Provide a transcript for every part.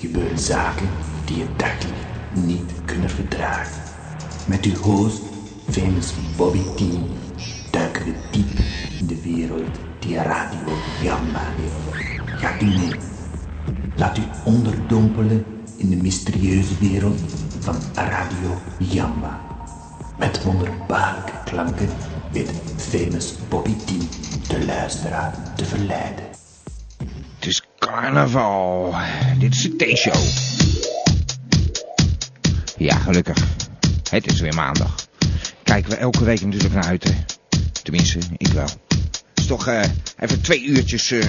gebeuren zaken die je dagelijks niet kunnen verdragen. Met uw host, famous Bobby T, duiken we diep in de wereld die Radio Gamma heeft. Gaat u mee? Laat u onderdompelen in de mysterieuze wereld van Radio Jamba. Met wonderbaarlijke klanken weet famous Bobby T de luisteraar te verleiden. Het is carnaval. Eh, Dit is de T-show. Ja, gelukkig. Het is weer maandag. Kijken we elke week natuurlijk naar uit, hè. Tenminste, ik wel. Het is toch eh, even twee uurtjes eh,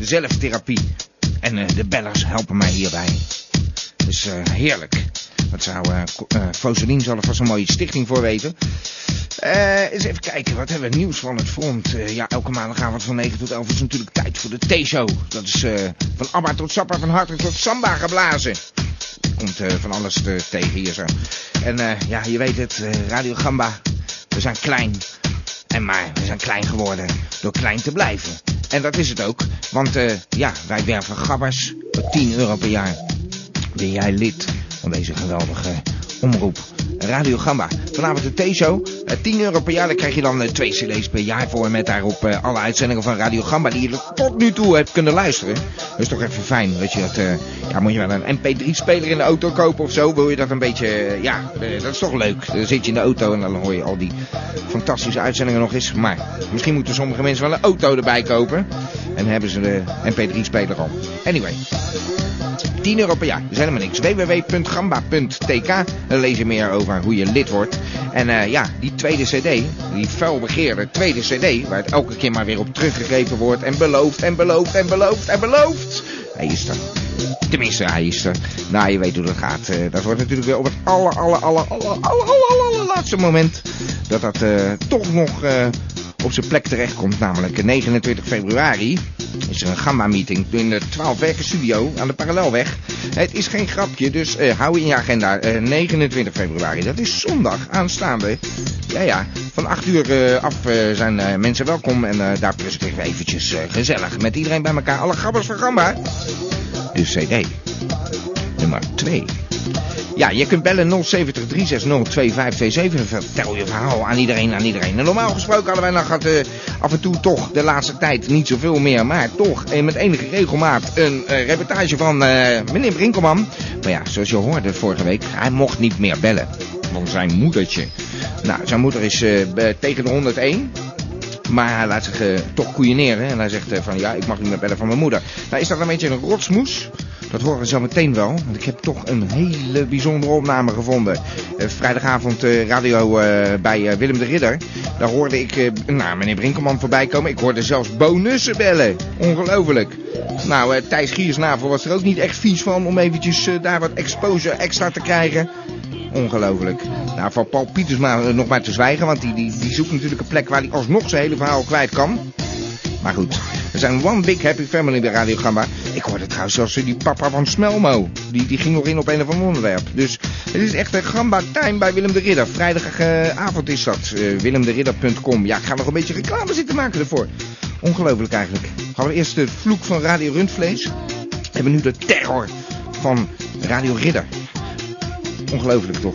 zelftherapie. En eh, de bellers helpen mij hierbij. Dus eh, heerlijk. Wat zou eh Ko- eh, Foselien zal er vast een mooie stichting voor weten. Eh, eens even kijken, wat hebben we nieuws van het front? Eh, ja, elke maandagavond van 9 tot 11 is natuurlijk tijd voor de T-show. Dat is eh, van Abba tot Sappa, van Hartelijk tot Samba geblazen. Er komt eh, van alles eh, tegen hier zo. En eh, ja, je weet het, eh, Radio Gamba, we zijn klein. En maar, we zijn klein geworden door klein te blijven. En dat is het ook, want eh, ja, wij werven gabbers voor 10 euro per jaar. Ben jij lid van deze geweldige omroep? Radio Gamba. Vanavond de T-show. Eh, 10 euro per jaar. Daar krijg je dan eh, twee cd's per jaar voor. Met daarop eh, alle uitzendingen van Radio Gamba die je tot nu toe hebt kunnen luisteren. Dat is toch even fijn. Weet je, dat, eh, ja, moet je wel een mp3-speler in de auto kopen of zo? Wil je dat een beetje... eh, ja, eh, dat is toch leuk. Dan zit je in de auto en dan hoor je al die fantastische uitzendingen nog eens. Maar misschien moeten sommige mensen wel een auto erbij kopen. En hebben ze de mp3-speler al. Anyway, 10 euro per jaar. Dat is helemaal niks. www.gamba.tk. Daar lees je meer over hoe je lid wordt. En eh, ja, die tweede cd, die vuilbegeerde tweede cd... waar het elke keer maar weer op teruggegeven wordt... en beloofd en beloofd en beloofd en beloofd. Hij is er. Tenminste, hij is er. Nou, je weet hoe dat gaat. Eh, dat wordt natuurlijk weer op het aller, aller, aller, aller, aller, aller, aller laatste moment... dat dat eh, toch nog... eh, op zijn plek terechtkomt. Namelijk 29 februari is er een Gamma-meeting in de 12 Werken Studio aan de Parallelweg. Het is geen grapje, dus eh, hou in je agenda. eh, 29 februari, dat is zondag aanstaande. Ja, ja, van 8 uur eh, af eh, zijn eh, mensen welkom. En eh, daar presenteren we eventjes eh, gezellig met iedereen bij elkaar. Alle grabbers van Gamma. De CD, nummer 2. Ja, je kunt bellen 070 360 2527 en vertel je verhaal aan iedereen, aan iedereen. En normaal gesproken hadden wij nog gehad, eh, af en toe toch de laatste tijd niet zoveel meer, maar toch en met enige regelmaat een eh, reportage van eh, meneer Brinkelman. Maar ja, zoals je hoorde vorige week, hij mocht niet meer bellen van zijn moedertje. Nou, zijn moeder is eh, be- tegen de 101. Maar hij laat zich eh, toch koeieneren. En hij zegt eh, van ja, ik mag niet meer bellen van mijn moeder. Nou, is dat een beetje een rotsmoes? Dat horen we zo meteen wel. Want ik heb toch een hele bijzondere opname gevonden. Eh, vrijdagavond eh, radio eh, bij eh, Willem de Ridder. Daar hoorde ik eh, nou, meneer Brinkelman voorbij komen. Ik hoorde zelfs bonussen bellen. Ongelooflijk. Nou, eh, Thijs Giersnavel was er ook niet echt vies van om eventjes eh, daar wat exposure extra te krijgen. Ongelooflijk. Nou, van Paul Pieters maar, eh, nog maar te zwijgen, want die, die, die zoekt natuurlijk een plek waar hij alsnog zijn hele verhaal kwijt kan. Maar goed, we zijn one big happy family bij Radio Gamba. Ik hoorde trouwens zelfs die papa van Smelmo. Die, die ging nog in op een of ander onderwerp. Dus het is echt een Gamba time bij Willem de Ridder. Vrijdagavond is dat. eh WillemDeRidder.com. Ja, ik ga nog een beetje reclame zitten maken ervoor. Ongelooflijk eigenlijk. Gaan we eerst de vloek van Radio Rundvlees. Hebben we nu de terror van Radio Ridder. Ongelooflijk toch?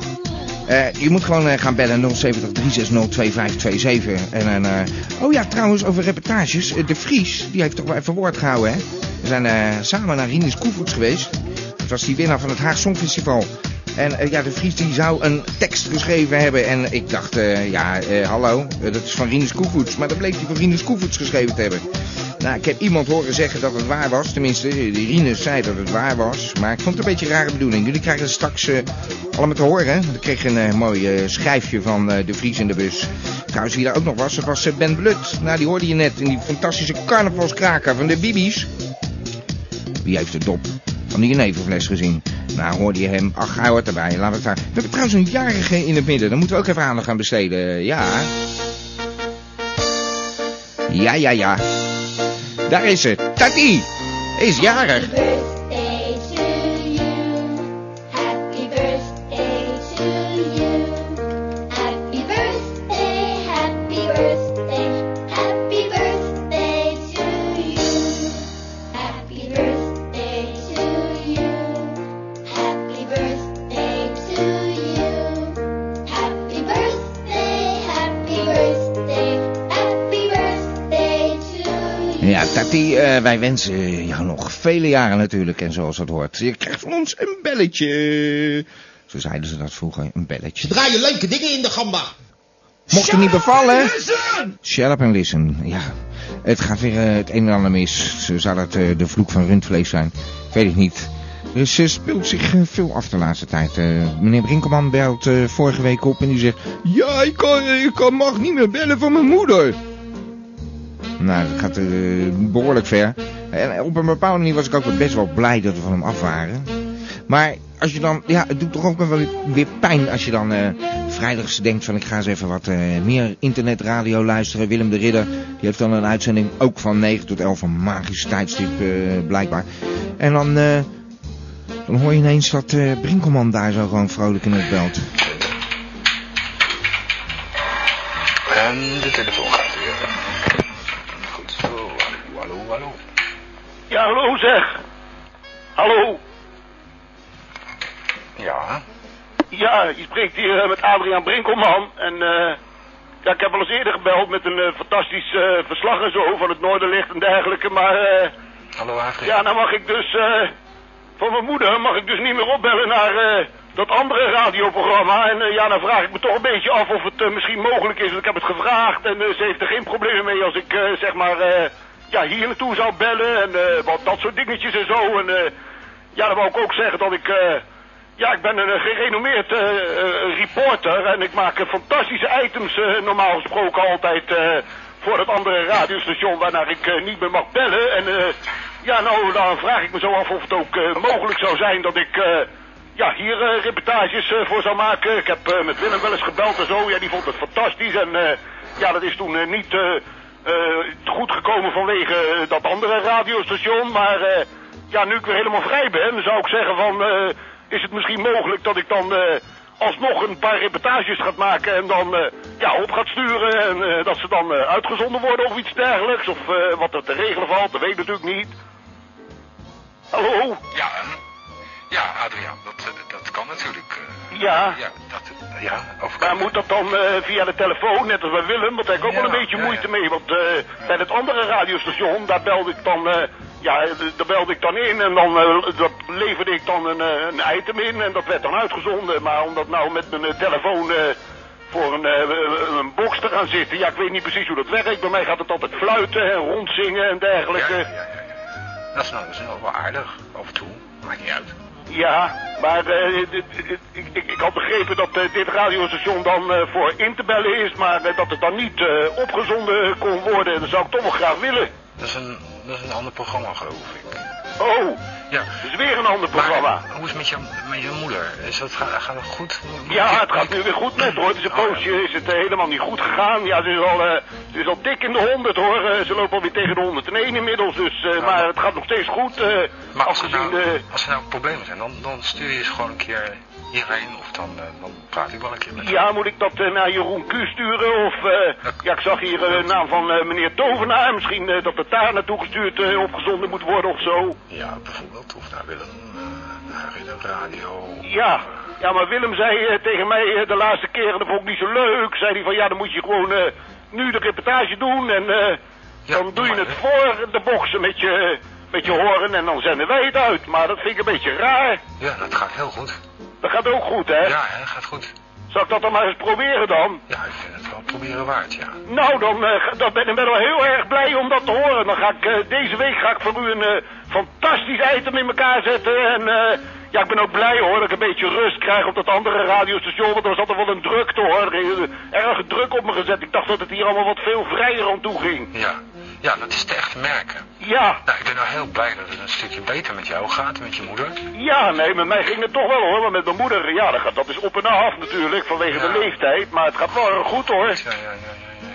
Eh, je moet gewoon eh, gaan bellen 070 360 2527. En, dan, eh, oh ja, trouwens, over reportages. Eh, de Vries, die heeft toch wel even woord gehouden, hè? We zijn eh, samen naar Rinus Koevoets geweest. Dat was die winnaar van het Haag Songfestival. En eh, ja, de Vries die zou een tekst geschreven hebben. En ik dacht, eh, ja, eh, hallo, eh, dat is van Rinus Koevoets. Maar dat bleek hij van Rinus Koevoets geschreven te hebben. Nou, ik heb iemand horen zeggen dat het waar was. Tenminste, eh, die Rinus zei dat het waar was. Maar ik vond het een beetje een rare bedoeling. Jullie krijgen het straks eh, allemaal te horen. hè? Want ik kreeg een eh, mooi eh, schijfje van eh, de Vries in de bus. Trouwens, wie daar ook nog was, dat was eh, Ben Blut. Nou, die hoorde je net in die fantastische carnavalskraker van de Bibi's. Wie heeft de dop van die jeneverfles gezien? Nou, hoorde je hem? Ach, hij hoort erbij. Laat het daar. We hebben trouwens een jarige in het midden. Daar moeten we ook even aandacht aan besteden. Ja. Ja, ja, ja. Daar is ze. Tati is jarig. birthday to you. Happy birthday to you. Happy birthday, happy birthday, happy birthday to you. Happy birthday to you. Tati, eh, wij wensen jou nog vele jaren natuurlijk. En zoals dat hoort, je krijgt van ons een belletje. Zo zeiden ze dat vroeger, een belletje. Draai je leuke dingen in de gamba. Mocht het niet bevallen... Shut up and listen. Ja, het gaat weer eh, het een en ander mis. Zo Zou dat eh, de vloek van rundvlees zijn? Ik weet het niet. Er is, eh, speelt zich eh, veel af de laatste tijd. Eh, meneer Brinkelman belt eh, vorige week op en die zegt... Ja, ik, kan, eh, ik kan, mag niet meer bellen van mijn moeder. Nou, dat gaat eh, behoorlijk ver. En op een bepaalde manier was ik ook best wel blij dat we van hem af waren. Maar als je dan, ja, het doet toch ook wel weer pijn als je dan eh, vrijdags denkt van ik ga eens even wat eh, meer internetradio luisteren. Willem de Ridder, die heeft dan een uitzending ook van 9 tot 11, een magisch tijdstip eh, blijkbaar. En dan, eh, dan hoor je ineens dat eh, Brinkelman daar zo gewoon vrolijk in het belt. En de telefoon gaat weer. Goed zo. Hallo, hallo, hallo. Ja, hallo zeg. Hallo. Ja, Ja, je spreekt hier eh, met Adriaan Brinkelman. En eh, ja, ik heb al eens eerder gebeld met een eh, fantastisch eh, verslag en zo van het Noorderlicht en dergelijke. Maar eh, hallo Adrie. ja, nou mag ik dus eh, voor mijn moeder mag ik dus niet meer opbellen naar eh, dat andere radioprogramma. En eh, ja, dan vraag ik me toch een beetje af of het eh, misschien mogelijk is. Want ik heb het gevraagd en eh, ze heeft er geen problemen mee als ik eh, zeg maar eh, ja, hier naartoe zou bellen. En eh, wat dat soort dingetjes en zo. En eh, ja, dan wou ik ook zeggen dat ik... eh, ja, ik ben een eh, gerenommeerd eh, eh, reporter en ik maak eh, fantastische items eh, normaal gesproken altijd eh, voor het andere radiostation waarnaar ik eh, niet meer mag bellen. En eh, ja, nou, dan vraag ik me zo af of het ook eh, mogelijk zou zijn dat ik eh, ja, hier eh, reportages eh, voor zou maken. Ik heb eh, met Willem wel eens gebeld en zo, ja, die vond het fantastisch en eh, ja, dat is toen eh, niet eh, eh, goed gekomen vanwege eh, dat andere radiostation, maar... eh, ja, nu ik weer helemaal vrij ben, zou ik zeggen van... eh, is het misschien mogelijk dat ik dan eh, alsnog een paar reportages gaat maken... en dan eh, ja, op gaat sturen en eh, dat ze dan eh, uitgezonden worden of iets dergelijks... of eh, wat er te regelen valt, dat weet ik natuurlijk niet. Hallo? Ja, ehm, ja Adriaan, dat, eh, dat kan natuurlijk. eh. Ja. Ja, dat, eh, ja, of Maar moet dat dan eh, via de telefoon, net als bij Willem? Want daar heb ik ook wel Ja, een beetje ja, moeite ja. mee. Want eh, bij het andere radiostation, daar belde ik dan... eh, ja, eh, daar belde ik dan in en dan eh, dat leverde ik dan een, eh, een item in en dat werd dan uitgezonden. Maar om dat nou met mijn eh, telefoon eh, voor een, eh, een box te gaan zitten, ja, ik weet niet precies hoe dat werkt. Bij mij gaat het altijd fluiten en rondzingen en Ja, dergelijke. ja, ja, ja, ja. Dat is nou, dat is nou wel aardig. Af en toe. Maakt niet uit. Ja, maar eh, dit- dit- ik, ik, ik had begrepen dat eh, dit radiostation dan eh, voor in te bellen is, maar eh, dat het dan niet eh, opgezonden kon worden. Dat zou ik toch wel graag willen. Dat is een, dat is een ander programma, geloof ik. Oh, Ja. dat is weer een ander programma. Maar, eh, hoe is het met je, met je moeder? Is dat, gaat, gaat het goed? Ja, het gaat nu weer goed met hoor. Het is een Oh, ja. poosje, is het eh, helemaal niet goed gegaan. Ja, ze is al, eh, ze is al dik in de 100 hoor. Eh, ze loopt alweer tegen de 101 inmiddels, dus, eh, maar het gaat nog steeds goed. eh, Oh. Maar als er, afgezien nou, de- als er nou problemen zijn, dan, dan stuur je ze gewoon een keer hierheen. Of dan, eh, dan praat ik wel een keer met Ja, moet ik dat eh, naar Jeroen Q sturen? Of, eh, ja, ik zag hier eh, de naam van eh, meneer Tovenaar. Misschien eh, dat het daar naartoe gestuurd eh, opgezonden moet worden of zo. Ja, bijvoorbeeld. Of naar Willem, eh, naar in de radio. Ja. Ja, maar Willem zei eh, tegen mij eh, de laatste keer, en dat vond ik niet zo leuk. Zei hij van, ja, dan moet je gewoon eh, nu de reportage doen. En eh, Ja, dan doe je maar, het hè. voor de boksen met je, met je horen en dan zenden wij het uit. Maar dat vind ik een beetje raar. Ja, dat gaat heel goed. Dat gaat ook goed, hè? Ja, hè, dat gaat goed. Zal ik dat dan maar eens proberen dan? Ja, ik vind het wel proberen waard, ja. Nou, dan, eh, ga- dan ben ik ben wel heel erg blij om dat te horen. Dan ga ik, eh, deze week ga ik voor u een eh, fantastisch item in elkaar zetten. En eh, ja, ik ben ook blij hoor dat ik een beetje rust krijg op dat andere radiostation. Want er was altijd wel een drukte hoor. Er is, eh, Erg druk op me gezet. Ik dacht dat het hier allemaal wat veel vrijer aan toe ging. Ja, ja dat is te echt merken. Ja, Nou, ik ben nou heel blij dat het een stukje beter met jou gaat, met je moeder. ja, nee, met mij ging het toch wel hoor. Maar met mijn moeder, ja, dat, gaat, dat is op en af natuurlijk vanwege Ja. de leeftijd. Maar het gaat wel erg goed hoor. Ja, ja, ja, ja. ja.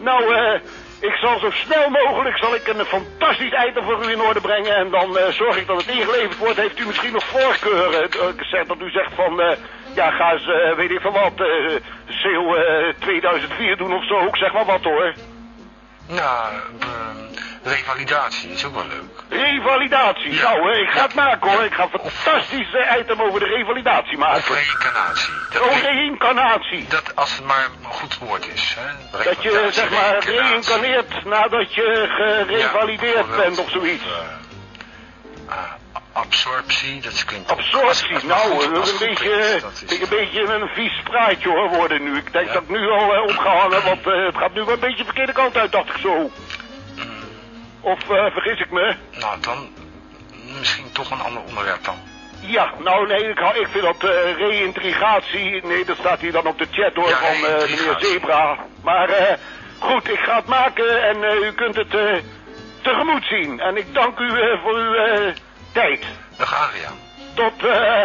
Nou, eh, ik zal zo snel mogelijk zal ik een fantastisch item voor u in orde brengen. En dan eh, zorg ik dat het ingeleverd wordt. Heeft u misschien nog voorkeuren? Eh, Ik zeg dat u zegt van, eh, ja, ga eens, eh, weet ik van wat, eh SEO eh, 2004 doen of zo. Ik zeg maar wat hoor. Nou, ehm, Revalidatie is ook wel leuk. Revalidatie. Ja. Nou, hè, ik ga het maken hoor. Ik ga een fantastisch eh, item over de revalidatie Of maken. reïncarnatie. Dat, Oh, reïncarnatie. dat als het maar een goed woord is. Hè? Dat je, zeg maar, reïncarneert nadat je gerevalideerd bent of zoiets. eh, absorptie, dat klinkt... ook- als- als Absorptie, het nou, goed- dat is als het een goed beetje, klinkt, eh, dat is- vind ik een beetje een vies praatje hoor worden nu. Ik denk Ja. dat ik nu al eh, opgehangen, want eh, het gaat nu wel een beetje de verkeerde kant uit, dacht ik Mm. zo. Of eh, vergis ik me? Nou, dan misschien toch een ander onderwerp dan. Ja, nou nee, ik, hou- ik vind dat eh reintrigatie. Nee, dat staat hier dan op de chat hoor Ja, van eh, reïntrigatie. meneer Zebra. Maar eh, goed, ik ga het maken en eh, u kunt het eh, tegemoet zien. En ik dank u eh, voor uw eh, tijd. Dag Adriaan. Tot, eh,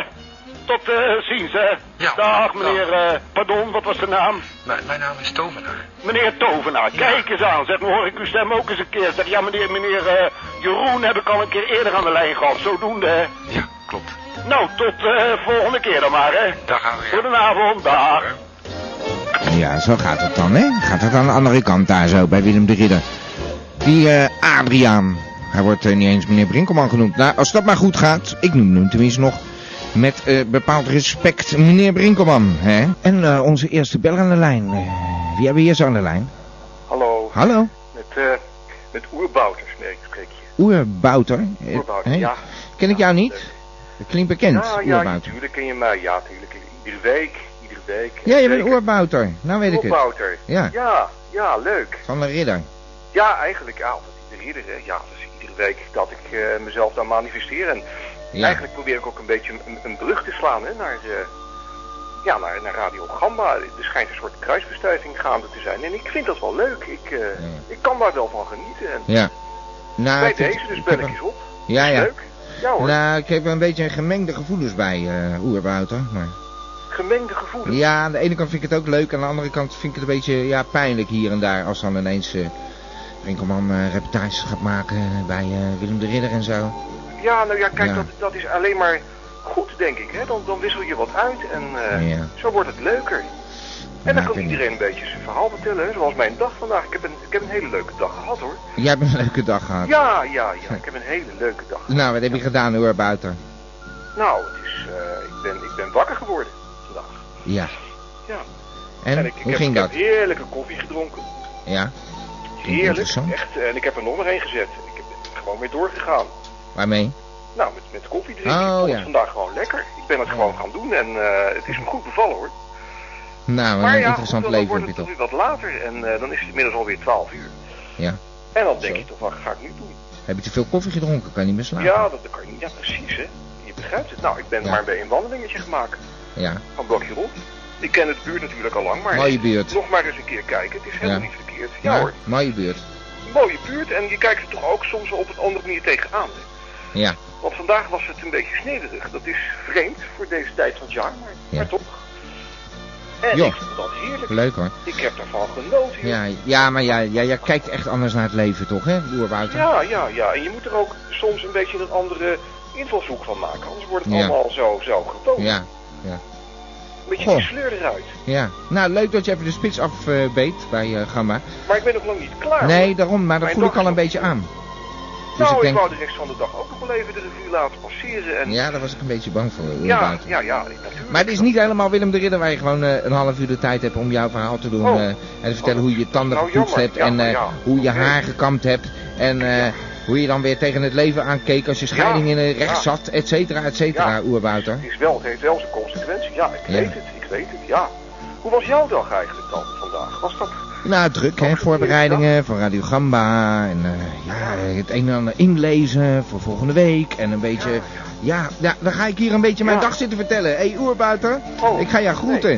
tot eh, ziens, hè. Ja, Dag dag. meneer, eh, pardon, wat was de naam? Mijn, mijn naam is Tovenaar. Meneer Tovenaar, kijk eens aan. Zeg, maar hoor ik uw stem ook eens een keer. Zeg, ja meneer, meneer eh, Jeroen heb ik al een keer eerder aan de lijn gehad. Zodoende, hè. Ja, klopt. Nou, tot eh, volgende keer dan maar, hè. Dag Adriaan. Goedenavond, dag. Ja, zo gaat het dan, hè? Gaat het aan de andere kant daar zo, bij Willem de Ridder. Die eh, Adriaan, hij wordt eh, niet eens meneer Brinkelman genoemd. Nou, als dat maar goed gaat, ik noem hem tenminste nog met eh, bepaald respect meneer Brinkelman, hè? En eh, onze eerste bel aan de lijn. Eh, wie hebben we hier zo aan de lijn? Hallo, Hallo, met, eh met Oerbouters merk ik spreek je. Oerbouter. Eh, Oerbouter, hè? ja. Ken ik jou niet? Dat klinkt bekend, ja, ja, Oerbouter. natuurlijk ken je mij. Ja, natuurlijk. Iedere week, iedere week. Ja, je bent Zeker. Oerbouter. Nou weet ik het. Oerbouter. Ja. ja, ja, leuk. Van de Ridder. Ja, eigenlijk, ja, dat iedere ridder, hè. Ja, dat is iedere week dat ik eh, mezelf dan manifesteer. En Ja. eigenlijk probeer ik ook een beetje een, een brug te slaan, hè, naar, eh, ja, naar, naar Radio Gamba. Er schijnt een soort kruisbestuiving gaande te zijn. En ik vind dat wel leuk. Ik, eh, Ja. ik kan daar wel van genieten. En Ja. Nou, bij ik vind- deze, dus ik bel heb ik een- eens op. Ja, ja. Leuk. Ja hoor, Nou, ik heb een beetje gemengde gevoelens bij eh Oerbouter. Maar... gemengde gevoelens. Ja, aan de ene kant vind ik het ook leuk, aan de andere kant vind ik het een beetje ja, pijnlijk hier en daar. Als dan ineens eh Rinkelman eh, reportages gaat maken bij eh, Willem de Ridder en zo. Ja, nou ja, kijk, Ja. Dat, dat is alleen maar goed, denk ik. Hè? Dan, dan wissel je wat uit en eh, Ja. zo wordt het leuker. Ja, En dan ik kan weet niet. iedereen een beetje zijn verhaal vertellen, hè? zoals mijn dag vandaag. Ik heb, een, ik heb een hele leuke dag gehad, hoor. Jij hebt een leuke dag gehad. Ja, ja, ja, ik heb een hele leuke dag gehad. Nou, wat heb je gedaan, Oerbouter? Nou, het is, eh, ik, ben, ik ben wakker geworden vandaag. Ja. Ja. En, ik, ik hoe heb, ging ik dat? heb heerlijke koffie gedronken. Ja. Heerlijk, interessant. echt. En ik heb er nog maar één gezet. Ik heb gewoon weer doorgegaan. Waarmee? Nou, met, met koffie drinken. Oh, ik vond ja. het vandaag gewoon lekker. Ik ben het gewoon gaan doen en eh, het is me goed bevallen, hoor. Nou, wat maar een ja, interessant goed, dan leven wordt heb je het toch. nu wat later en eh, dan is het inmiddels alweer 12 uur. Ja. En dan denk Zo. je toch, wat ga ik nu doen? Heb je te veel koffie gedronken? Kan niet meer slapen. Ja, dat, dat kan je niet. Ja, precies, hè. Je begrijpt het. Nou, ik ben Ja. maar bij een wandelingetje gemaakt. Ja. Van blokje rond. Ik ken het buurt natuurlijk al lang, maar Mooie buurt. nog maar eens een keer kijken. Het is helemaal Ja. niet verkeerd. Ja, hoor, Mooie buurt. mooie buurt. En je kijkt er toch ook soms op een andere manier tegenaan. hè. Ja. Want vandaag was het een beetje snederig. Dat is vreemd voor deze tijd van het jaar, maar, Ja. maar toch. En Joh. ik vond dat heerlijk. Leuk hoor. Ik heb daarvan genoten. joh. Ja, ja maar jij, jij, jij kijkt echt anders naar het leven toch, hè, Oerbouter? Ja, ja, ja. En je moet er ook soms een beetje een andere invalshoek van maken. Anders wordt het Ja. allemaal zo, zo getoond. Ja, Oh. Een beetje Goh. die sleur eruit. ja. Nou, leuk dat je even de spits afbeet bij eh, Gamma. Maar ik ben nog lang niet klaar. Nee, hoor. daarom, maar dat Mijn voel ik dag al is een nog- beetje aan. Dus Nou, ik ik, denk, wou de rest van de dag ook nog wel even de revue laten passeren. En... ja, daar was ik een beetje bang voor, ja, Oerbouter. ja, ja, natuurlijk. Maar het is niet helemaal Willem de Ridder waar je gewoon eh, een half uur de tijd hebt om jouw verhaal te doen. Oh. eh, en te vertellen Oh, hoe je je tanden nou, gepoetst jammer. hebt en eh, Ja, ja. hoe je Oké. haar gekamd hebt. En eh, hoe je dan weer tegen het leven aankeek als je scheiding in een recht ja. zat, et cetera, et cetera, Ja. Oerbouter. Het, is wel, het heeft wel zijn consequenties. Ja, ik Ja. weet het, ik weet het, ja. Hoe was jouw dag eigenlijk dan vandaag? Was dat... Nou, druk hè, voorbereidingen voor Radio Gamba en eh, ja, het een en ander inlezen voor volgende week en een beetje... Ja, ja, dan ga ik hier een beetje mijn Ja. dag zitten vertellen. Hé, hey, Oerbouter, Oh, ik ga jou groeten.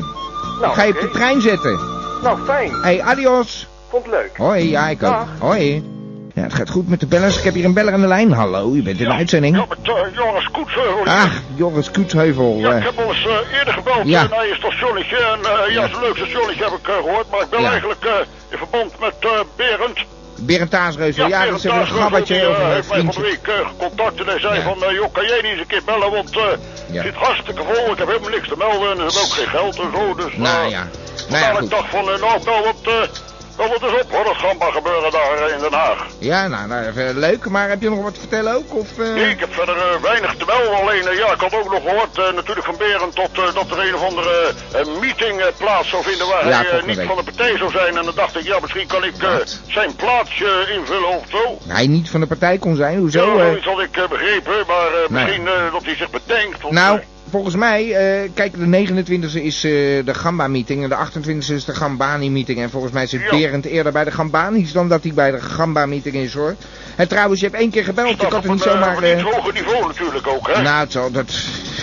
Nou, ik ga je op oké. de trein zetten. Nou, fijn. Hé, hey, adios. Vond het leuk. Hoi, ja, ik ook. Dag. Hoi. Ja, het gaat goed met de bellers. Ik heb hier een beller aan de lijn. Hallo, je bent in de Ja, uitzending. met eh, Joris Koetsheuvel. Ach, Joris Koetsheuvel. Ja, ik eh, heb al eens eh, eerder gebeld Ja. eh, naar je stationnetje. En eh, ja, Ja. zo'n leuk stationnetje heb ik eh, gehoord. Maar ik ben Ja. eigenlijk eh, in verband met eh, Berend. Berend Taasreuzel. Ja, dat Berend is even een Taasreuvel, grabbetje die, eh, over een heeft mij van de vriendje. week eh, contact en hij zei Ja. van... eh, joh, kan jij niet eens een keer bellen, want eh, het Ja. zit hartstikke vol. Ik heb helemaal niks te melden en ik heb ook geen geld en zo. Dus, Nou eh, ja, nou vandaar ja, dat ik goed. dacht van, eh, nou, nou, want... eh, Nou, wat is op hoor, dat gamba gebeuren daar eh, in Den Haag. Ja, nou, nou even leuk, maar heb je nog wat te vertellen ook? Of, eh? Ik heb verder eh, weinig te melden, alleen eh, ja, ik had ook nog gehoord eh, natuurlijk van Berend tot, eh, dat er een of andere eh, meeting eh, plaats zou vinden waar Ja, hij eh, volgende niet week. van de partij zou zijn. En dan dacht ik, ja, misschien kan ik eh, Wat? zijn plaats eh, invullen of zo. Hij niet van de partij kon zijn, hoezo? ja, eh? zoiets had ik eh, begrepen, maar eh, Nee. misschien eh, dat hij zich bedenkt. of, Nou, eh, volgens mij, eh, kijk, de 29e is eh, de Gamba-meeting en de 28e is de Gambani-meeting. En volgens mij zit Ja. Berend eerder bij de Gambani's dan dat hij bij de Gamba-meeting is, hoor. En trouwens, je hebt één keer gebeld, je staat kan op toch niet een, eh, zomaar... op een eh, iets hoger niveau natuurlijk ook, hè? nou, het zal, dat,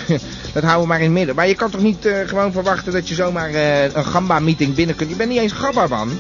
dat houden we maar in het midden. Maar je kan toch niet eh, gewoon verwachten dat je zomaar eh, een Gamba-meeting binnen kunt? Je bent niet eens Gamba, man.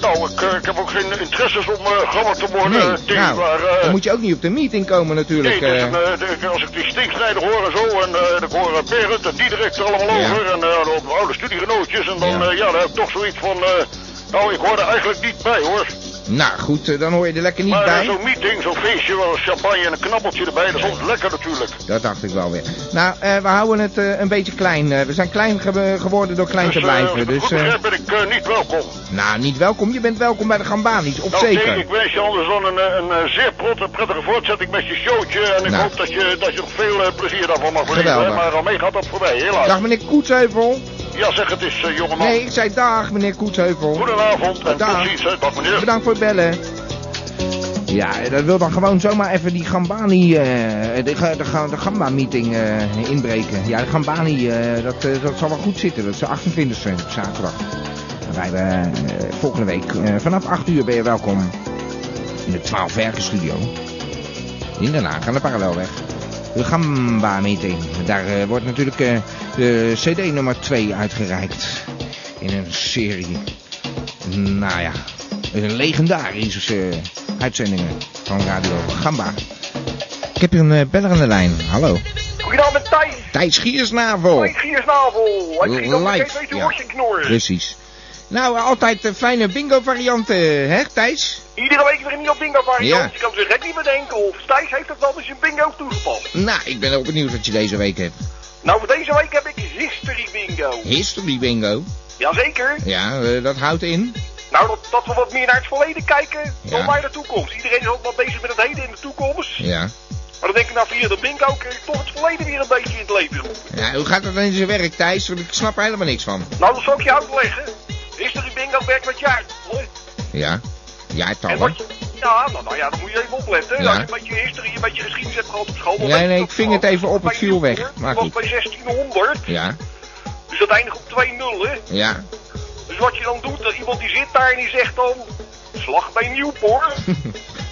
Nou, ik, eh, ik heb ook geen interesses om eh grammer te worden, Nee, Nou. eh, Tim, maar... eh, dan moet je ook niet op de meeting komen natuurlijk. Nee, dus eh. dan, eh, de- als ik die stinksnijder hoor en zo, en eh, en ik hoor eh, Berend en Diederik er allemaal Ja. over, en eh, op oude studiegenootjes, en dan, Ja. ja. ja, dan heb ik toch zoiets van, eh, nou, ik hoor er eigenlijk niet bij, hoor. Nou, goed, eh, dan hoor je er lekker niet maar eh, bij. zo'n meeting, zo'n feestje, wel champagne en een knabbeltje erbij, dat is altijd lekker natuurlijk. Dat dacht ik wel weer. Nou, eh, we houden het eh, een beetje klein. eh, we zijn klein ge- geworden door klein te eh, als blijven. ik het Dus, goed eh, begrijp ben ik eh, niet welkom. nou, niet welkom. Je bent welkom bij de Gambani's, op Nou, Tim, zeker. ik wens je anders dan een, eh, een, eh, zeer protte, prettige voortzetting met je showtje, en ik Nou. hoop dat je, dat je nog veel eh, plezier daarvan mag beleven, hè, Geweldig. maar aan mij gaat dat voorbij, helaas. Dag meneer Koetsheuvel. Ja, zeg het eens, eh, jongeman. Nee, ik zei dag meneer Koetsheuvel. Goedenavond en Dag. tot ziens, hè. Dag meneer. Bedankt voor het bellen. Ja, eh, dat wil dan gewoon zomaar even die Gambani, eh, de, ga- de, ga- de Gamba-meeting eh, inbreken. Ja, de Gambani, eh, dat, eh, dat zal wel goed zitten. Dat is de 28e, zaterdag. Dan rijden we eh, volgende week. eh, vanaf 8 uur ben je welkom in de 12 Werken Studio. In Den Haag, aan de Parallelweg. De Gamba-meeting. Daar eh, wordt natuurlijk eh, de CD nummer 2 uitgereikt. In een serie nou ja, een legendarische eh, uitzendingen van Radio Gamba. Ik heb hier een eh, beller aan de lijn. Hallo. Goedenavond met Thijs. Thijs Giersnavel. Thijs Giersnavel. Hij schiet ook meteen Live. met je Ja, horsje knorren. precies. Nou, eh, altijd eh, fijne bingo-varianten, hè Thijs? Iedere week weer een nieuw bingo waar Ja. Ik kan zich echt niet bedenken of Thijs heeft dat wel eens een bingo toegepast. Nou, ik ben heel benieuwd wat je deze week hebt. Nou, voor deze week heb ik history bingo. History bingo. Jazeker. Ja, eh, dat houdt in. Nou, dat, dat we wat meer naar het verleden kijken Ja. dan naar de toekomst. Iedereen is ook wel bezig met het heden en de toekomst. Ja. Maar dan denk ik, nou, via de bingo kun je toch het verleden weer een beetje in het leven roepen. ja. Hoe gaat dat dan in zijn werk, Thijs? Want ik snap er helemaal niks van. Nou, dat zal ik je uitleggen. History bingo werkt met jaartallen. Ja. En Jaartallen. wat je... Ja, nou, nou ja, dan moet je even opletten. Ja. Als je een beetje history, een beetje geschiedenis hebt gehad op school... dan Nee, weet je nee, dat ik ving het gewoon. even op, het Bij viel weg. Hitler Maakt was niet. bij 1600, Ja. dus dat eindigt op 2-0, hè. Ja. Dus wat je dan doet, dat iemand die zit daar en die zegt dan... Slag bij Nieuwpoort.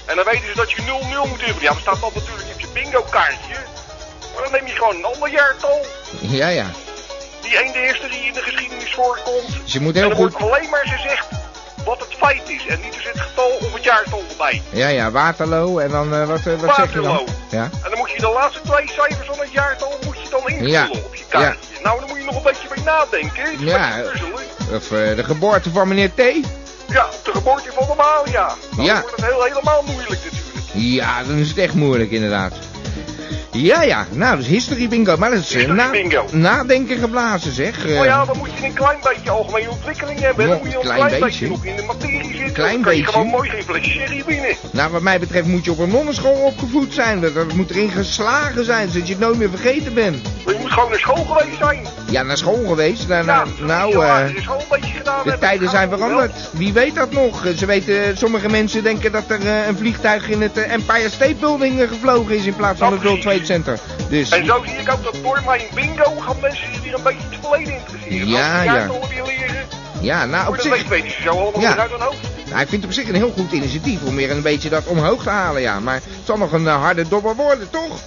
en dan weten ze dat je 0-0 moet hebben. Ja, maar staat dat natuurlijk op je bingo kaartje. Maar dan neem je gewoon een ander jaartal. Ja, ja. Die een de eerste die in de geschiedenis voorkomt. Dus je moet en heel dan goed... wordt alleen maar gezegd wat het feit is. En niet dus het getal of het jaartal erbij. Ja, ja, Waterloo en dan eh, wat, eh, wat zeg je dan? Waterloo. Ja, En dan moet je de laatste twee cijfers van het jaartal moet je dan invullen Ja. op je kaartje. Nou, dan moet je nog een beetje bij nadenken. Het is een Ja. beetje puzzelen. of eh, de geboorte van meneer T. Ja, de geboorte van Amalia. Dan Ja. wordt het heel, helemaal moeilijk natuurlijk. Ja, dan is het echt moeilijk inderdaad. Ja, ja, nou, dus history bingo. Maar dat is eh, History na- bingo. nadenken geblazen, zeg. Eh, Maar ja, dan moet je een klein beetje algemene ontwikkeling hebben. Dan Nog moet je een een klein klein, beetje. beetje nog in de materie zitten. Klein dan kan je beetje. gewoon mooi geen flesje sherry winnen. Nou, wat mij betreft moet je op een nonnenschool opgevoed zijn. Dat, dat moet erin geslagen zijn, zodat je het nooit meer vergeten bent. Maar je moet gewoon naar school geweest zijn. Ja, naar school geweest. Naar, Ja, naar- dat moet je nou, heel eh, aardig in school een beetje gedaan de hebben. tijden Dat zijn gaat wel. veranderd. Wie weet dat nog? Eh, Ze weten, sommige mensen denken dat er eh, een vliegtuig in het eh, Empire State Building eh, gevlogen is in plaats van Nou, het World Trade precies. Center. Dus En zo zie ik ook dat door mijn bingo gaan mensen zich weer een beetje het verleden interesseren. Ja, Als ze ja. jaartallen weer leren, ja, nou op voor de week zich, weten ze zo allemaal Ja. weer uit hun hoofd. nou, ik vind het op zich een heel goed initiatief om weer een beetje dat omhoog te halen, ja. Maar het zal nog een eh, harde dobber worden, toch?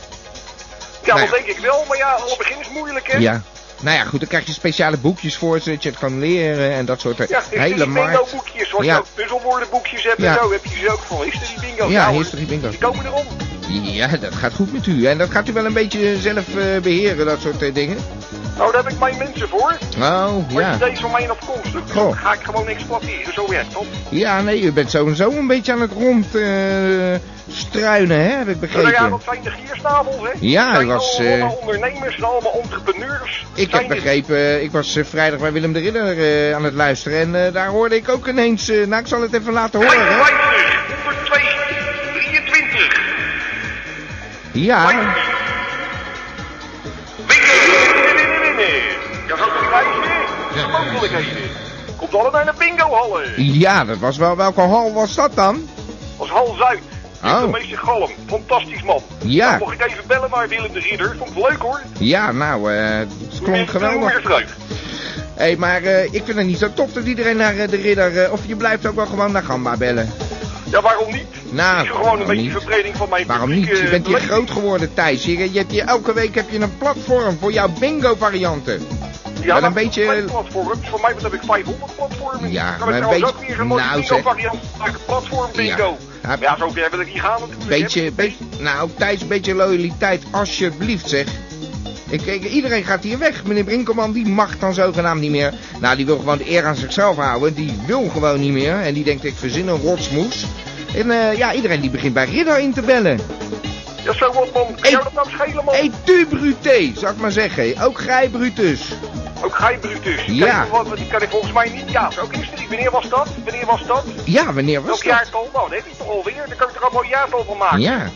Ja, Nou ja. dat denk ik wel, maar ja, alle begin is moeilijk, hè? Ja. Nou ja, goed, dan krijg je speciale boekjes voor, zodat je het kan leren en dat soort eh, Ja, hele history bingo markt. boekjes, zoals Ja. je ook puzzelwoordenboekjes hebt Ja. en zo, heb je ze ook van history bingo. Ja, Nou, history bingo. Die komen erom. Ja, dat gaat goed met u. En dat gaat u wel een beetje zelf eh, beheren, dat soort eh, dingen? Nou, daar heb ik mijn mensen voor. Oh, Maar ja. die deze van mij afkomstig. Dus Goh. dat ga ik gewoon exploiteren. Zo werkt dat. Ja, nee, u bent sowieso een beetje aan het rond eh, struinen, hè? Heb ik Nou begrepen. ja, dat zijn de giersnavels, hè? Ja, Dat zijn u was, allemaal eh, ondernemers, zijn allemaal entrepreneurs. Ik Zijn heb dit- begrepen, ik was eh, vrijdag bij Willem de Ridder eh, aan het luisteren en eh, daar hoorde ik ook ineens... eh, nou, ik zal het even laten horen. hè. 55, 102, 23. Ja, Ja, zo kan wijzen. Mogelijkheden. Komt allemaal naar de bingo-hallen. ja, dat was wel... Welke hal was dat dan? Als hal Zuid. Oh. De meeste galm. Fantastisch, man. Ja. Dan mocht ik even bellen naar Willem de Ridder. Vond ik leuk, hoor. Ja, nou, eh, het klonk geweldig. Weer terug. Hé, hey, maar eh, ik vind het niet zo tof dat iedereen naar eh, de ridder... eh, of je blijft ook wel gewoon naar Gamba bellen. Ja, waarom niet? Nou, Ik wil gewoon een waarom beetje niet? verbreding van mijn eh, Waarom niet? publieke Je bent hier beleving. groot geworden, Thijs. Je, je hebt hier, elke week heb je een platform voor jouw bingo-varianten. Ja, Wel dat een beetje- zijn platforms. Voor mij heb ik 500 platformen. eh, Ja, maar kan ik een trouwens beetje- ook weer een mooie nou, bingo zeg. variant maken. Platform bingo. Ja. Ja, zo ver wil ik niet gaan natuurlijk. Beetje, hè. beetje, nou, Thijs, beetje loyaliteit, alsjeblieft, zeg. Ik, ik- iedereen gaat hier weg. Meneer Brinkelman, die mag dan zogenaamd niet meer. Nou, die wil gewoon de eer aan zichzelf houden. Die wil gewoon niet meer. En die denkt, ik verzin een rotsmoes. En eh, ja, iedereen die begint bij Ridder in te bellen. Ja, zo wat man. Kan Hey. jou dat nou schelen man? Hey, tu brute, zou ik maar zeggen. Ook gij, Brutus. Ook gij Brutus. Ja. Kijk, wat, die kan ik volgens mij niet. Ja, ook is er niet. Wanneer was dat? Wanneer was dat? Ja, wanneer was Welk dat? jaartal? Nou, dat heb je toch alweer. Dan kan ik er allemaal een jaartal van maken. Ja, dat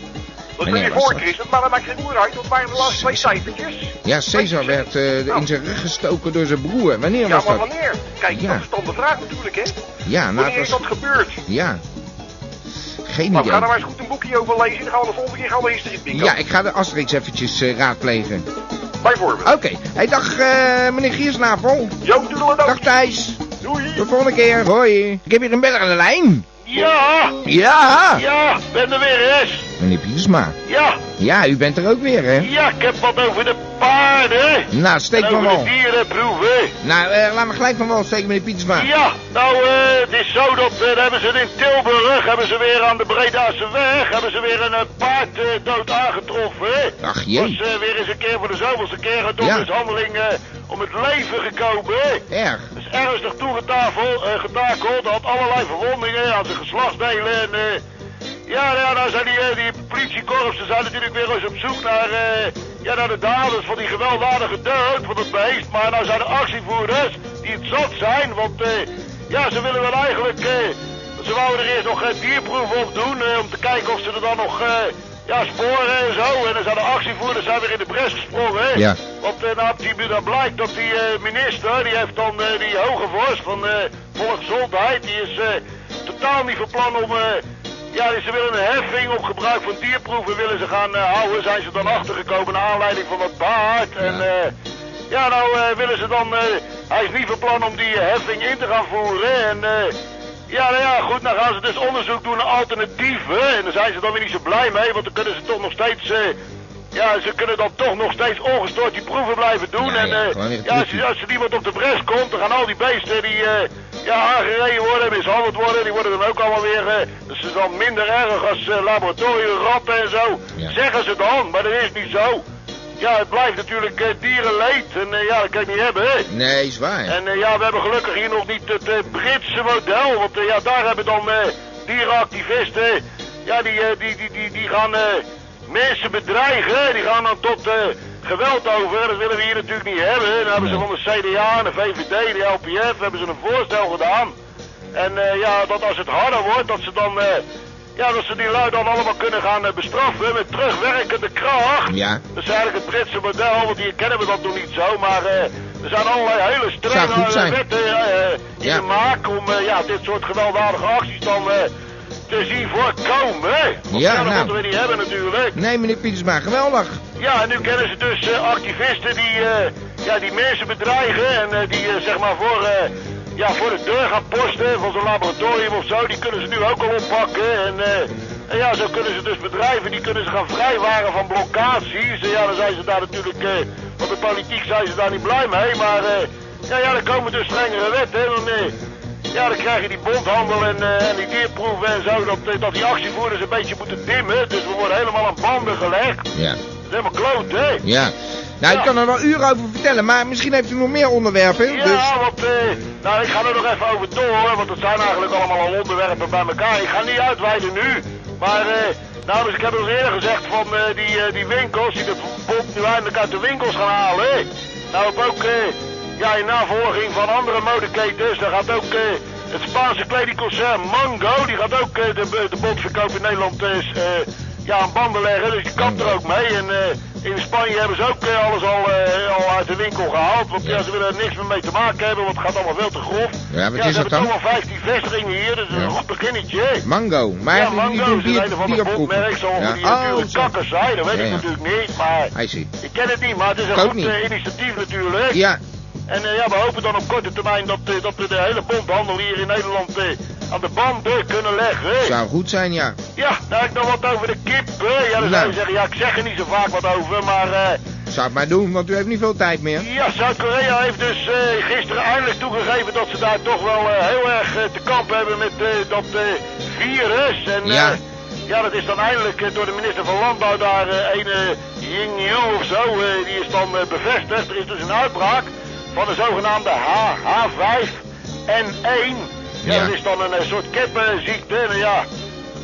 kun wanneer je was voor, dat? Chris. Maar dat maakt geen moer uit. Dat waren de laatste twee cijfertjes. ja Caesar werd eh, in zijn rug gestoken door zijn broer. Wanneer Nou. Ja, was maar dat? wanneer? Kijk, Ja. dat is dan de vraag natuurlijk, hè. Ja, nou, Wanneer het is was... dat gebeurd? Ja. Geen idee. Nou, we gaan er maar eens goed een boekje over lezen. Dan gaan we de volgende keer gaan we history bingo. Ja, ik ga de Asterix eventjes eh, raadplegen. Bijvoorbeeld. Oké. Hey, dag eh, meneer Giersnavel. Jo, doedeledoe. Dag Thijs. Doei. Tot volgende keer. Hoi. Ik heb hier een beller aan de lijn. Ja, Ja. ja, ben er weer eens. Meneer Pietersma. Ja, Ja, u bent er ook weer, hè? ja, ik heb wat over de paarden. Nou, steek en maar over de wel. dierenproeven. Nou, eh, laat me gelijk maar wel steken, meneer Pietersma. Ja, nou, eh, het is zo dat eh, daar hebben ze in Tilburg, hebben ze weer aan de Bredase weg, hebben ze weer een eh, paard eh, dood aangetroffen. Ach Was jee. eh, weer eens een keer voor de zoveelste keer een Ja. mishandeling eh, om het leven gekomen. Erg. is Dus ernstig toegetakeld, eh getakeld, had allerlei verwondingen aan zijn geslachtsdelen. En, eh, ja, nou ja, nou zijn die, eh, die politiekorpsen zijn natuurlijk weer eens op zoek naar, eh, ja, naar de daders van die gewelddadige dood van het beest. Maar nou zijn de actievoerders die het zat zijn, want eh, ja, ze willen wel eigenlijk... eh, ze wouden er eerst nog eh, dierproeven op doen, eh, om te kijken of ze er dan nog... eh, ja, sporen en zo. En dan zijn de actievoerders zijn weer in de bres gesprongen. hè. Ja. Want eh, nou, op die, dat blijkt dat die eh, minister, die heeft dan eh, die hoge vorst van eh volksgezondheid, die is eh, totaal niet van plan om. eh, ja, ze willen een heffing op gebruik van dierproeven willen ze gaan eh, houden. Zijn ze dan achtergekomen naar aanleiding van dat paard. En eh, ja, nou eh, willen ze dan. eh, hij is niet van plan om die eh, heffing in te gaan voeren. En eh, ja, nou ja, goed, dan gaan ze dus onderzoek doen naar alternatieven. En daar zijn ze dan weer niet zo blij mee, want dan kunnen ze toch nog steeds. eh, ja, ze kunnen dan toch nog steeds ongestoord die proeven blijven doen. Ja, en ja, eh, gewoon weer ja, als, trucje. als er niemand op de bres komt, dan gaan al die beesten die eh, ja, aangereden worden, mishandeld worden, die worden dan ook allemaal weer. eh, dus het is dan minder erg als eh, laboratoriumratten en zo. Ja. Zeggen ze dan, maar dat is niet zo. Ja, het blijft natuurlijk eh, dierenleed. En eh, ja, dat kan je niet hebben, hè? Nee, is waar. En eh, ja, we hebben gelukkig hier nog niet het eh, Britse model. Want eh, ja, daar hebben dan eh, dierenactivisten. Ja, die, eh, die, die, die, die gaan eh, mensen bedreigen. Die gaan dan tot eh, geweld over. Dat willen we hier natuurlijk niet hebben. Dan hebben ze Nee. van de CDA en de VVD, de LPF, hebben ze een voorstel gedaan. En eh, ja, dat als het harder wordt, dat ze dan. eh, ja, dat ze die lui dan allemaal kunnen gaan eh, bestraffen met terugwerkende kracht. Ja. Dat is eigenlijk het Britse model, want hier kennen we dat nog niet zo. Maar eh, er zijn allerlei hele Zou goed strenge zijn. wetten eh, eh, in Ja. de maak om eh, ja, dit soort gewelddadige acties dan eh, te zien voorkomen. hè. Want Ja, ja, dat nou. moeten we niet hebben natuurlijk. Nee, meneer Pietersma, geweldig. Ja, en nu kennen ze dus eh, activisten die, eh, ja, die mensen bedreigen en eh, die eh, zeg maar voor, eh, ja, voor de deur gaan posten van zo'n laboratorium of zo. Die kunnen ze nu ook al oppakken. En, eh, en ja, zo kunnen ze dus bedrijven, die kunnen ze gaan vrijwaren van blokkaties. En ja, dan zijn ze daar natuurlijk, eh, want de politiek zijn ze daar niet blij mee. Maar eh, ja, ja, er komen dus strengere wetten. En dan, eh, Ja, dan krijg je die bondhandel en, eh, en die dierproeven en zo. Dat, dat die actievoerders een beetje moeten dimmen. Dus we worden helemaal aan banden gelegd. Dat Ja. is helemaal kloot, hè? Ja. Nou, ik Ja. kan er wel uren over vertellen, maar misschien heeft u nog meer onderwerpen. Dus... Ja, want eh, nou, ik ga er nog even over door, want het zijn eigenlijk allemaal al onderwerpen bij elkaar. Ik ga niet uitweiden nu, maar eh, nou, dus ik heb al eerder gezegd van eh, die, eh, die winkels, die de bond nu eindelijk uit de winkels gaan halen. hè. Nou, heb ook eh, ja, in navolging van andere modeketens, daar gaat ook eh, het Spaanse kledingconcern Mango, die gaat ook eh, de, de bondverkoop in Nederland eh, s- eh, ja, aan banden leggen, dus die kapt er ook mee. En eh, in Spanje hebben ze ook eh, alles al, eh, al uit de winkel gehaald, want ja, ze willen er niks meer mee te maken hebben, want het gaat allemaal veel te grof. Ja, wat is dat ze hebben dan? toch wel 15 vestigingen hier, dus dat is Ja. een goed beginnetje. hè. Mango. Maar ja, heeft u niet Mango een is een bier, een van de bondmerk, zo Ja. die Oh, natuurlijk zo. kakkers zijn, dat weet Ja, ik ja. natuurlijk niet, maar... Hij ziet. Ik ken het niet, maar het is Ik een ook goed niet. eh, initiatief natuurlijk. Ja, En eh, ja, we hopen dan op korte termijn dat, eh, dat we de hele bondhandel hier in Nederland eh, aan de banden kunnen leggen. hè. zou goed zijn, ja. Ja, nou ik nog wat over de kip. hè. Ja, dan zou Nou. je zeggen, ja, ik zeg er niet zo vaak wat over, maar... eh, Zou het maar doen, want u heeft niet veel tijd meer. ja, Zuid-Korea heeft dus eh, gisteren eindelijk toegegeven dat ze daar toch wel eh, heel erg eh, te kampen hebben met eh, dat eh, virus. En, eh, Ja. ja, dat is dan eindelijk eh, door de minister van Landbouw daar, eh, een eh, Ying Yu of zo, eh, die is dan eh, bevestigd. Er is dus een uitbraak van de zogenaamde HH5N1. Ja, Ja. dat is dan een eh, soort kippenziekte. Nou ja,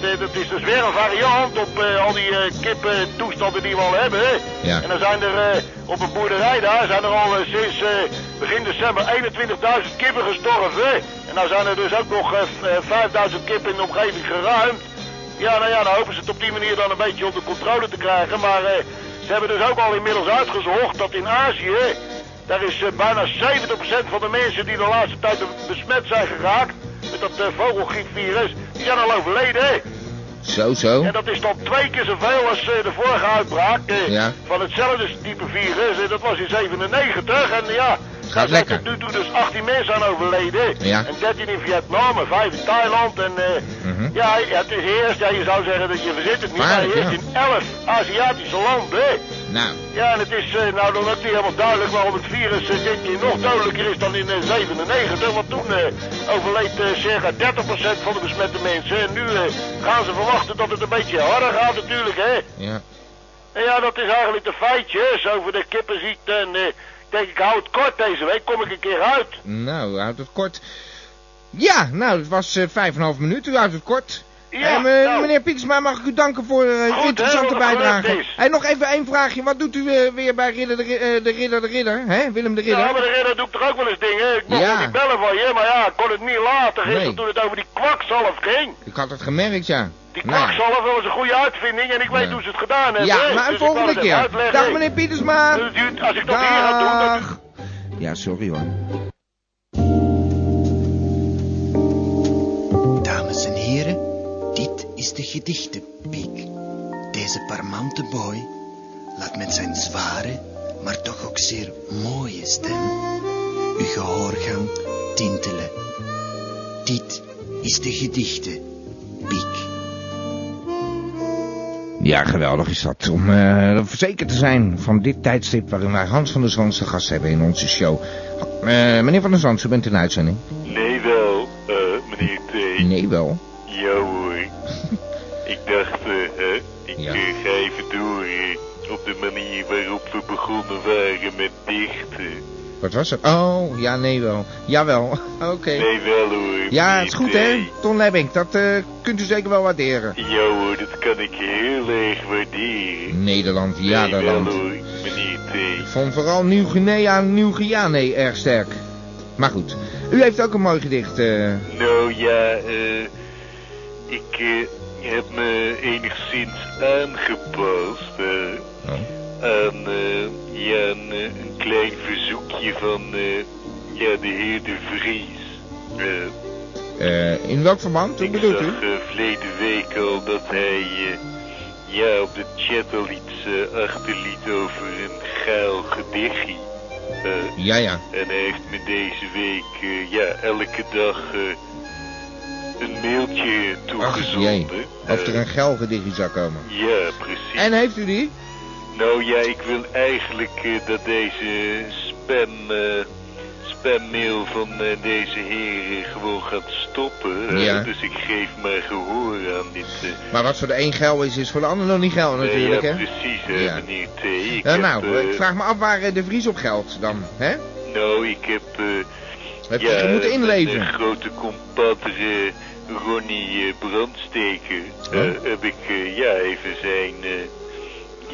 dat, dat is dus weer een variant op eh, al die eh, kippentoestanden die we al hebben. hè. Ja. En dan zijn er eh, op een boerderij daar zijn er al eh, sinds eh, begin december 21.000 kippen gestorven. En nou zijn er dus ook nog eh, v- eh, 5.000 kippen in de omgeving geruimd. Ja, nou ja, dan hopen ze het op die manier dan een beetje onder controle te krijgen. Maar eh, ze hebben dus ook al inmiddels uitgezocht dat in Azië, daar is eh, bijna 70% van de mensen die de laatste tijd besmet zijn geraakt met dat eh, vogelgriepvirus, die zijn al overleden. hè. Zo, zo. En dat is dan twee keer zoveel als eh, de vorige uitbraak eh, Ja. van hetzelfde type virus. En dat was in 97. En ja, daar zijn lekker. tot nu toe dus 18 mensen aan overleden. Ja. En 13 in Vietnam en 5 in Thailand. En eh, Mhm. ja, ja, het is eerst, ja, je zou zeggen dat je verzint het niet, maar Waarlijk, je is ja. in 11 Aziatische landen. Nou, Ja, en het is eh, nou dan ook niet helemaal duidelijk waarom het virus eh, dit keer nog dodelijker is dan in eh, 97. Want toen eh, overleed eh, circa 30% van de besmette mensen. En nu eh, gaan ze verwachten dat het een beetje harder gaat natuurlijk, hè. ja. En ja, dat is eigenlijk de feitjes over de kippenziekte. En eh, ik denk, ik hou het kort deze week, kom ik een keer uit. Nou, houdt het kort. Ja, nou, het was eh, vijf en een half minuut. U houdt het kort. Ja, Eh, me- nou. Meneer Pieksma, mag ik u danken voor eh, uw Goed, hè, interessante wat er gelukt bijdrage. is. En nog even één vraagje. Wat doet u eh, weer bij Ridder de, Ri- eh, de Ridder de Ridder? Hè? Willem de Ja, maar Ridder? de redder doe ik toch ook wel eens dingen. Ik mocht Ja. wel niet bellen van je, maar ja, ik kon het niet laten gisteren Nee. toen het over die kwakzalf ging. Ik had het gemerkt, ja. Die Nou. kwakzalf was een goede uitvinding en ik weet Ja. hoe ze het gedaan hebben. Ja, hè. maar een Dus ik wou volgende het even keer. uitleggen. Dag meneer Pietersma. Dus duurt- als ik dat hier ga doen, dan Dag. Ja, sorry hoor. Dames en heren, dit is de gedichtenpiek. Deze parmante boy laat met zijn zware, maar toch ook zeer mooie stem uw gehoorgang tintelen. Dit is de gedichtenpiek. Ja, geweldig is dat. Om eh, verzekerd te zijn van dit tijdstip waarin wij Hans van der Zwans te gast hebben in onze show. Eh, meneer van der Zwans, u bent in uitzending? Nee wel, eh, meneer T. Nee, wel. Ja hoor. ik dacht, eh, hè, ik Ja. eh, ga even door eh, op de manier waarop we begonnen waren met dichten. Wat was het? Oh, ja, nee, wel. Jawel, oké. Nee wel hoor. Ja, meneer het is goed, T. hè? Ton Lebbink, dat eh, kunt u zeker wel waarderen. Ja hoor, dat kan ik heel erg waarderen. Nederland, nee, wel jaderland. hoor, meneer T. Vond vooral Nieuw-Guinea en Nieuw-Guinea erg sterk. Maar goed, u heeft ook een mooi gedicht. eh. Nou ja, eh, ik eh, heb me enigszins aangepast. eh. Oh. aan eh, ja, een, eh, een klein verzoekje van eh, ja, de heer De Vries. Eh, Eh, in welk verband? Hoe ik bedoelt zag u? eh, verleden week al dat hij eh, ja, op de chat al iets eh, achterliet over een gaal gedichtje. Eh, Ja, ja. en hij heeft me deze week eh, ja, elke dag eh, een mailtje Ach, jee. toegezonden. Of er Eh, een gel gedichtje zou komen. Ja, precies. En heeft u die? Nou ja, ik wil eigenlijk eh, dat deze spam eh, spammail van eh, deze heren gewoon gaat stoppen. hè. Ja. Dus ik geef maar gehoor aan dit... eh, Maar wat voor de een geil is, is voor de ander nog niet geil Oh, natuurlijk, eh, ja, hè? precies, hè, Ja. meneer T. Ik Ja, heb, nou, eh, ik vraag me af waar eh, de Vries op geldt dan, hè? Nou, ik heb... eh, Heb je je moeten inleven? Mijn eh, grote compadre eh, Ronnie eh, Brandsteker. eh, Oh. heb ik eh, ja, even zijn, eh,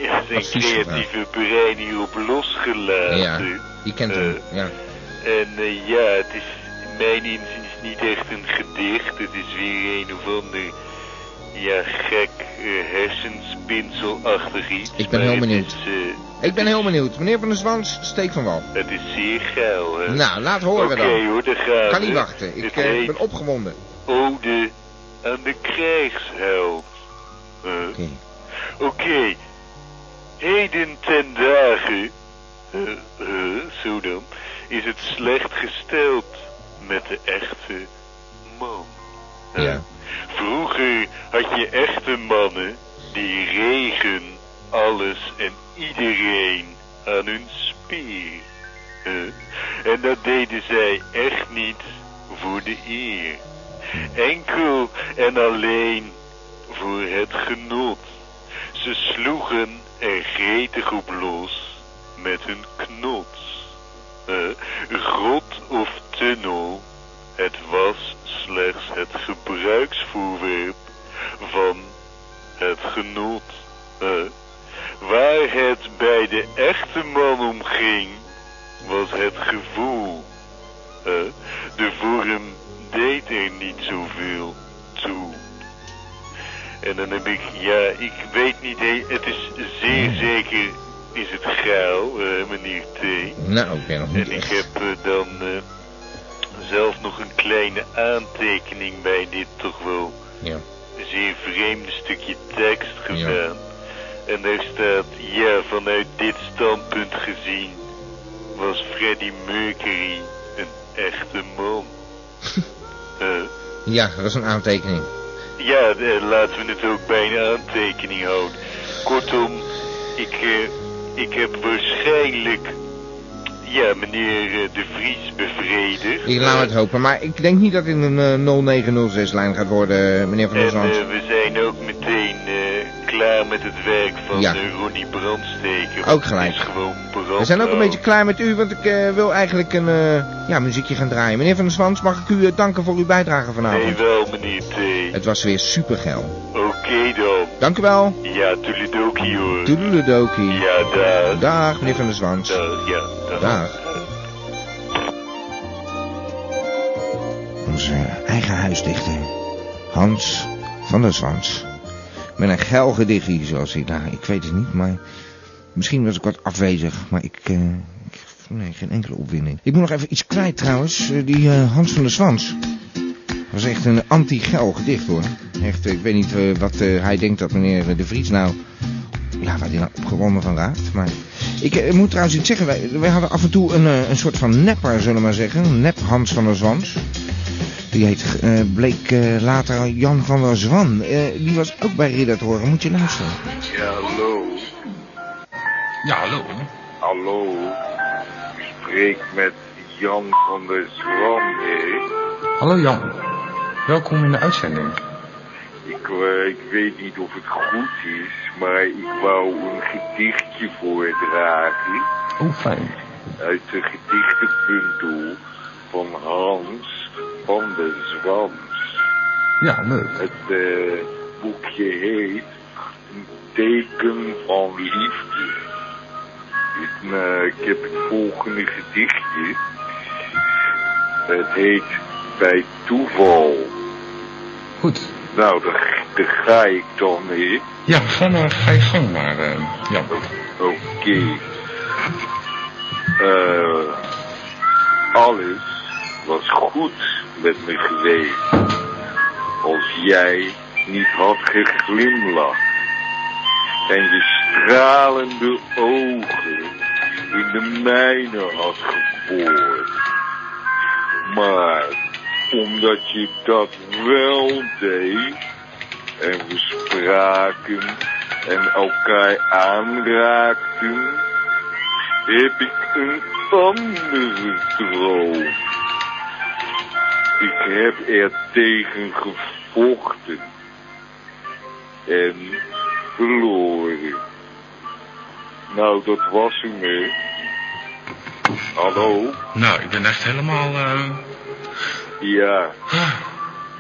ja, zijn Advies creatieve brein hierop losgelaten. Ja, die kent hem, ja. En eh, ja, het is mijn inziens niet echt een gedicht. Het is weer een of ander ja, gek eh, hersenspinselachtig iets. Ik ben maar heel het benieuwd. is, eh, Ik ben heel benieuwd. Meneer van der Zwans, steek van wal. het is zeer geil, hè? Nou, laat horen Eh, Oké dan. hoor, daar gaan Kan we. niet wachten. Ik Het eh, heet ben opgewonden. Ode aan de krijgsheld. Eh, Oké. Oké, heden ten dagen, eh, eh, zo dan, is het slecht gesteld met de echte man. Eh, Ja. Vroeger had je echte mannen die regen alles en iedereen aan hun spier. Eh, en dat deden zij echt niet voor de eer. Enkel en alleen voor het genot. Ze sloegen er gretig op los met hun knots. Eh, grot of tunnel, het was slechts het gebruiksvoerwerp van het genot. Eh, waar het bij de echte man om ging, was het gevoel. Eh, de vorm deed er niet zoveel toe. En dan heb ik, ja, ik weet niet, hè, het is zeer zeker, is het geil, eh, meneer T. Nou, ik ben nog niet En ik echt. heb eh, dan eh, zelf nog een kleine aantekening bij dit toch wel Ja. zeer vreemde stukje tekst gedaan. En daar staat, ja, vanuit dit standpunt gezien was Freddie Mercury een echte man. Eh, ja, dat is een aantekening. ja, eh, laten we het ook bij een aantekening houden. Kortom, ik, eh, ik heb waarschijnlijk ja, meneer eh, De Vries bevredigd. Ik laat het hopen, maar ik denk niet dat dit een eh, 0906-lijn gaat worden, eh, meneer van der En Zwans. eh, we zijn ook meteen eh, klaar met het werk van Ja. eh, Ronnie Brandsteker. Ook gelijk. Het is gewoon brand. We zijn ook een beetje klaar met u, want ik eh, wil eigenlijk een eh, ja, muziekje gaan draaien. Meneer van der Zwans, mag ik u eh, danken voor uw bijdrage Nee, vanavond? wel meneer T. Het was weer supergeil. Oké dan. Dank u wel. Ja, toelidoki hoor. Toedeledokie. Ja, daar. Dag, meneer van der Zwans. Dag, ja. Dag. Dag. Onze eigen huisdichter, Hans van der Zwans. Met een geil gedichtje, zoals hij daar. Ik weet het niet, maar misschien was ik wat afwezig. Maar ik, eh, ik- nee, geen enkele opwinding. Ik moet nog even iets kwijt trouwens. Eh, die eh, Hans van der Zwans was echt een anti-geil gedicht hoor. Echt, eh, ik weet niet eh, wat eh, hij denkt dat meneer eh, De Vries nou ja, waar die nou opgewonden van raakt. Maar ik eh, moet trouwens iets zeggen. Wij, wij hadden af en toe een, eh, een soort van nepper, zullen we maar zeggen. Een Nep Hans van der Zwans. Die heet, eh, bleek eh, later Jan van der Zwan. Eh, die was ook bij Ridder te horen. Moet je luisteren. Ja, hallo. Ja, hallo. Hallo. U spreekt met Jan van der Zwan, hè? Hallo Jan. Welkom in de uitzending. Ik, eh, ik weet niet of het goed is, maar ik wou een gedichtje voordragen Oh, fijn. uit de gedichtenbundel van Hans van der Zwans. Ja, leuk. Het eh, boekje heet Een teken van liefde. Ik, eh, ik heb het volgende gedichtje. Het heet Bij toeval. Goed. Nou, daar, daar ga ik dan mee. Ja, ga, maar, ga je gang maar, eh, Jan. Oké. Eh, alles was goed met me geweest. Als jij niet had geglimlacht. En je stralende ogen in de mijne had geboord. Maar omdat je dat wel deed. En we spraken en elkaar aanraakten, heb ik een tandengestroop. Ik heb er tegen gevochten. En verloren. Nou, dat was hem, hè. Hallo? Nou, ik ben echt helemaal... eh, Ja, ah,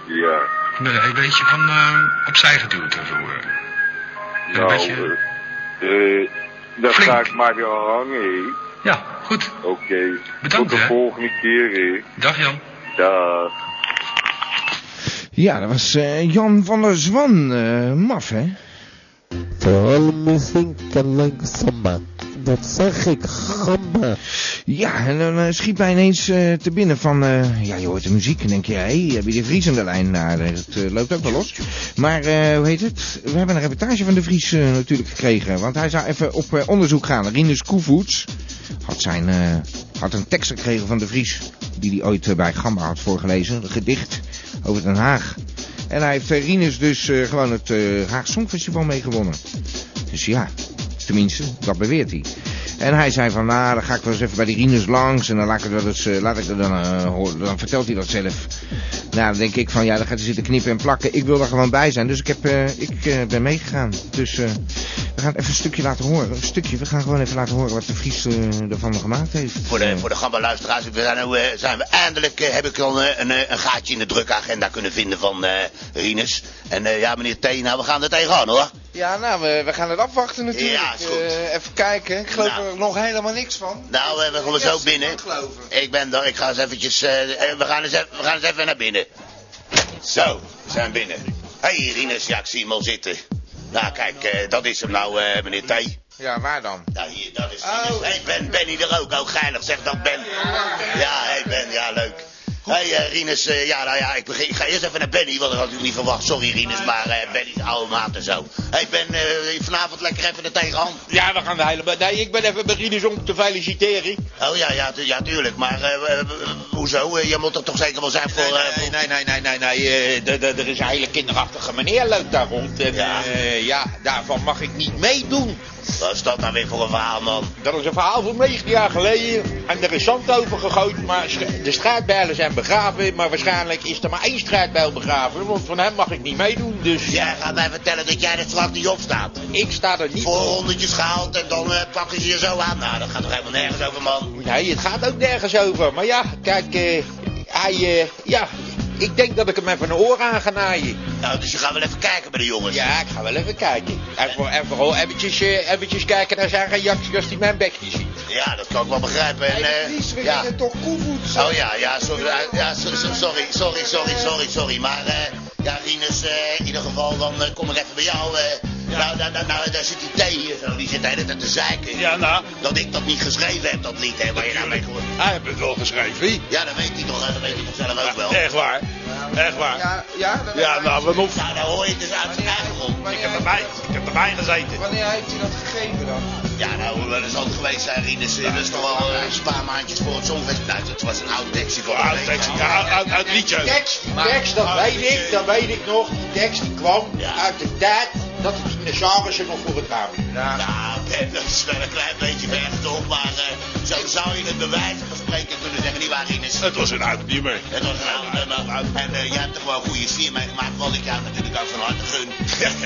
ja. ik ben een beetje van eh, opzij geduwd ervoor. Een Nou, beetje... eh, eh, dan Flink. ga ik maar weer hangen, hè. Ja, goed. Oké. Bedankt, Tot de hè. volgende keer, hè. Dag Jan. Dag. Ja, dat was eh, Jan van der Zwan. eh, maf, hè? Vooral muziek en langzamer. Dat zeg ik, gamma. Ja, en dan eh, schiet mij ineens eh, te binnen van... eh, ja, je hoort de muziek en denk je... Hé, hey, heb je de Vries aan de lijn? Nou, dat eh, loopt ook wel los. Maar, eh, hoe heet het? We hebben een reportage van de Vries eh, natuurlijk gekregen. Want hij zou even op eh, onderzoek gaan. Rinus Koevoets had, zijn, eh, had een tekst gekregen van de Vries... die hij ooit eh, bij Gamma had voorgelezen. Een gedicht over Den Haag. En hij heeft eh, Rinus dus eh, gewoon het eh Haag Songfestival meegewonnen. Dus ja, tenminste, dat beweert hij. En hij zei van, nou, dan ga ik wel eens even bij die Rinus langs en dan laat ik het wel eens, eh, laat ik het dan eh, horen. Dan vertelt hij dat zelf. Nou, dan denk ik van, ja, dan gaat hij zitten knippen en plakken. Ik wil er gewoon bij zijn, dus ik, heb, eh, ik eh, ben meegegaan. Dus eh, we gaan even een stukje laten horen. Een stukje, we gaan gewoon even laten horen wat de Vries eh, ervan gemaakt heeft. Voor de, voor de gamba-luisteraars, we zijn, nou, eh, zijn we eindelijk, eh, heb ik al eh, een, eh, een gaatje in de drukagenda kunnen vinden van eh Rinus. En eh, ja, meneer T, nou, we gaan er tegenaan hoor. Ja, nou, we, we gaan het afwachten natuurlijk. Ja, is goed. Eh, even kijken. Ik geloof Nou. er nog helemaal niks van. Nou, eh, we komen Ja, zo ze binnen. kan geloven. Ik ben daar, ik ga eens eventjes, eh, eh, we, gaan eens even, we gaan eens even naar binnen. Zo, we zijn binnen. Hé, hey, Rinus, ja, ik zie hem al zitten. Nou, kijk, eh, dat is hem nou, eh, meneer T. Ja, waar dan? Nou, hier, dat is Oh. Rinus. Hé, hey, Ben, Benny er ook. Oh, geinig, zeg dat Ben. Ja, hé, hey, Ben, ja, leuk. Hé, hey, eh, Rinus, eh, ja, nou ja, ik, begin, ik ga eerst even naar Benny, want dat had ik niet verwacht. Sorry, Rinus, maar eh Benny is oude maat en zo. Hé, hey, Ben, eh, vanavond lekker even er tegenaan. Ja, we gaan de hele... Nee, ik ben even bij Rinus om te feliciteren. Oh, ja, ja, tu- ja tuurlijk, maar eh, eh, hoezo? Eh, je moet er toch zeker wel zijn voor... eh, voor- Nee, nee, nee, nee, nee, nee. eh, d- d- er is een hele kinderachtige meneer loopt daar rond. En, Ja. ja. ja, daarvan mag ik niet meedoen. Wat is dat nou weer voor een verhaal, man? Dat is een verhaal van 19 jaar geleden. En er is zand over gegooid, maar sch- de straatbijlen zijn begraven. Maar waarschijnlijk is er maar één straatbijl begraven. Want van hem mag ik niet meedoen, dus Jij gaat mij vertellen dat jij er straks niet op staat. ik sta er niet Voor rondetjes gehaald en dan eh, pakken ze je zo aan. Nou, dat gaat toch helemaal nergens over, man? Nee, het gaat ook nergens over. Maar ja, kijk, eh, hij, eh, ja, ik denk dat ik hem even een oor aan ga naaien. Nou, dus je gaat wel even kijken bij de jongens. Ja, ik ga wel even kijken. En, voor, en vooral eventjes, eh, eventjes kijken naar zijn reactie als hij mijn bekje ziet. Ja, dat kan ik wel begrijpen. En, eh, ja. toch Koevoets? Oh ja, ja, sorry, ja, ja, so- so- sorry, sorry, sorry, sorry, sorry. Maar eh, ja, Rinus, eh, in ieder geval, dan eh, kom ik even bij jou. eh. nou, nou, nou, nou, daar zit die thee hier zo, die zit de hele tijd te zeiken. Ja, nou. Dat ik dat niet geschreven heb, dat lied, hè, waar je nou mee gehoord. Hij heeft het wel geschreven. wie? Ja, dat weet hij toch, eh, dat weet hij toch zelf ook wel. Echt waar. Echt waar. Ja, ja, dat Ja, nou, wat nog? Nou, daar hoor je het dus uit zijn eigen mond. Ik heb erbij, ik heb erbij gezeten. Wanneer heeft hij dat gegeven dan? Ja, nou, dat is altijd geweest, zijn Rinus. eh, Dat is toch wel eh, een paar maandjes voor het Songfest. Nou, dat was een oud tekstje voor Uit tekst, ja, uit, uit liedje. Tekst, die tekst, dat Maar- weet ik, dat weet ik nog. Die tekst die kwam Oh, Ja. uit de tijd dat de dinosaurussen nog voor het raam liepen. Nou, Ben, dat is wel een klein beetje weg, toch? Maar eh, zo zou je het bewijs van spreken kunnen zeggen, nietwaar, Rinus? Het was een oud nummer. Het was een oude nummer. En eh, jij hebt er wel een goede sfeer mee gemaakt, wat ik jou natuurlijk ook van harte gun.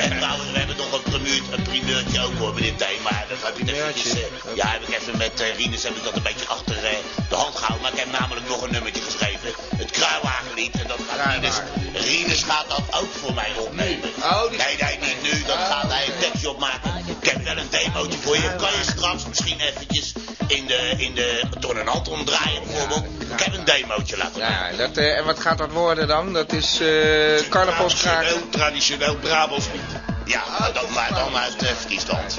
En Trouwens, we hebben nog een, primeur, een primeurtje ook hoor, meneer T. Maar dat heb ik eventjes... eh, ja, heb ik even met eh, Rinus heb ik dat een beetje achter eh, de hand gehouden. Maar ik heb namelijk nog een nummertje geschreven. Het Kruiwagenlied. En dat gaat Rinus... Rinus gaat dat ook voor mij opnemen. Oh, die- Oh. Nee, nee, niet nu. Dan gaat hij een tekstje opmaken. Ik heb wel een demootje voor je. Kan je straks misschien eventjes in de... In de door een hand omdraaien bijvoorbeeld. Ik heb een demootje laten maken. Ja, dat, eh, en wat gaat dat worden dan? Dat is eh carnavalskraken. Traditioneel, traditioneel Brabants lied. Ja, maar dan, maar dan uit eh, Friesland.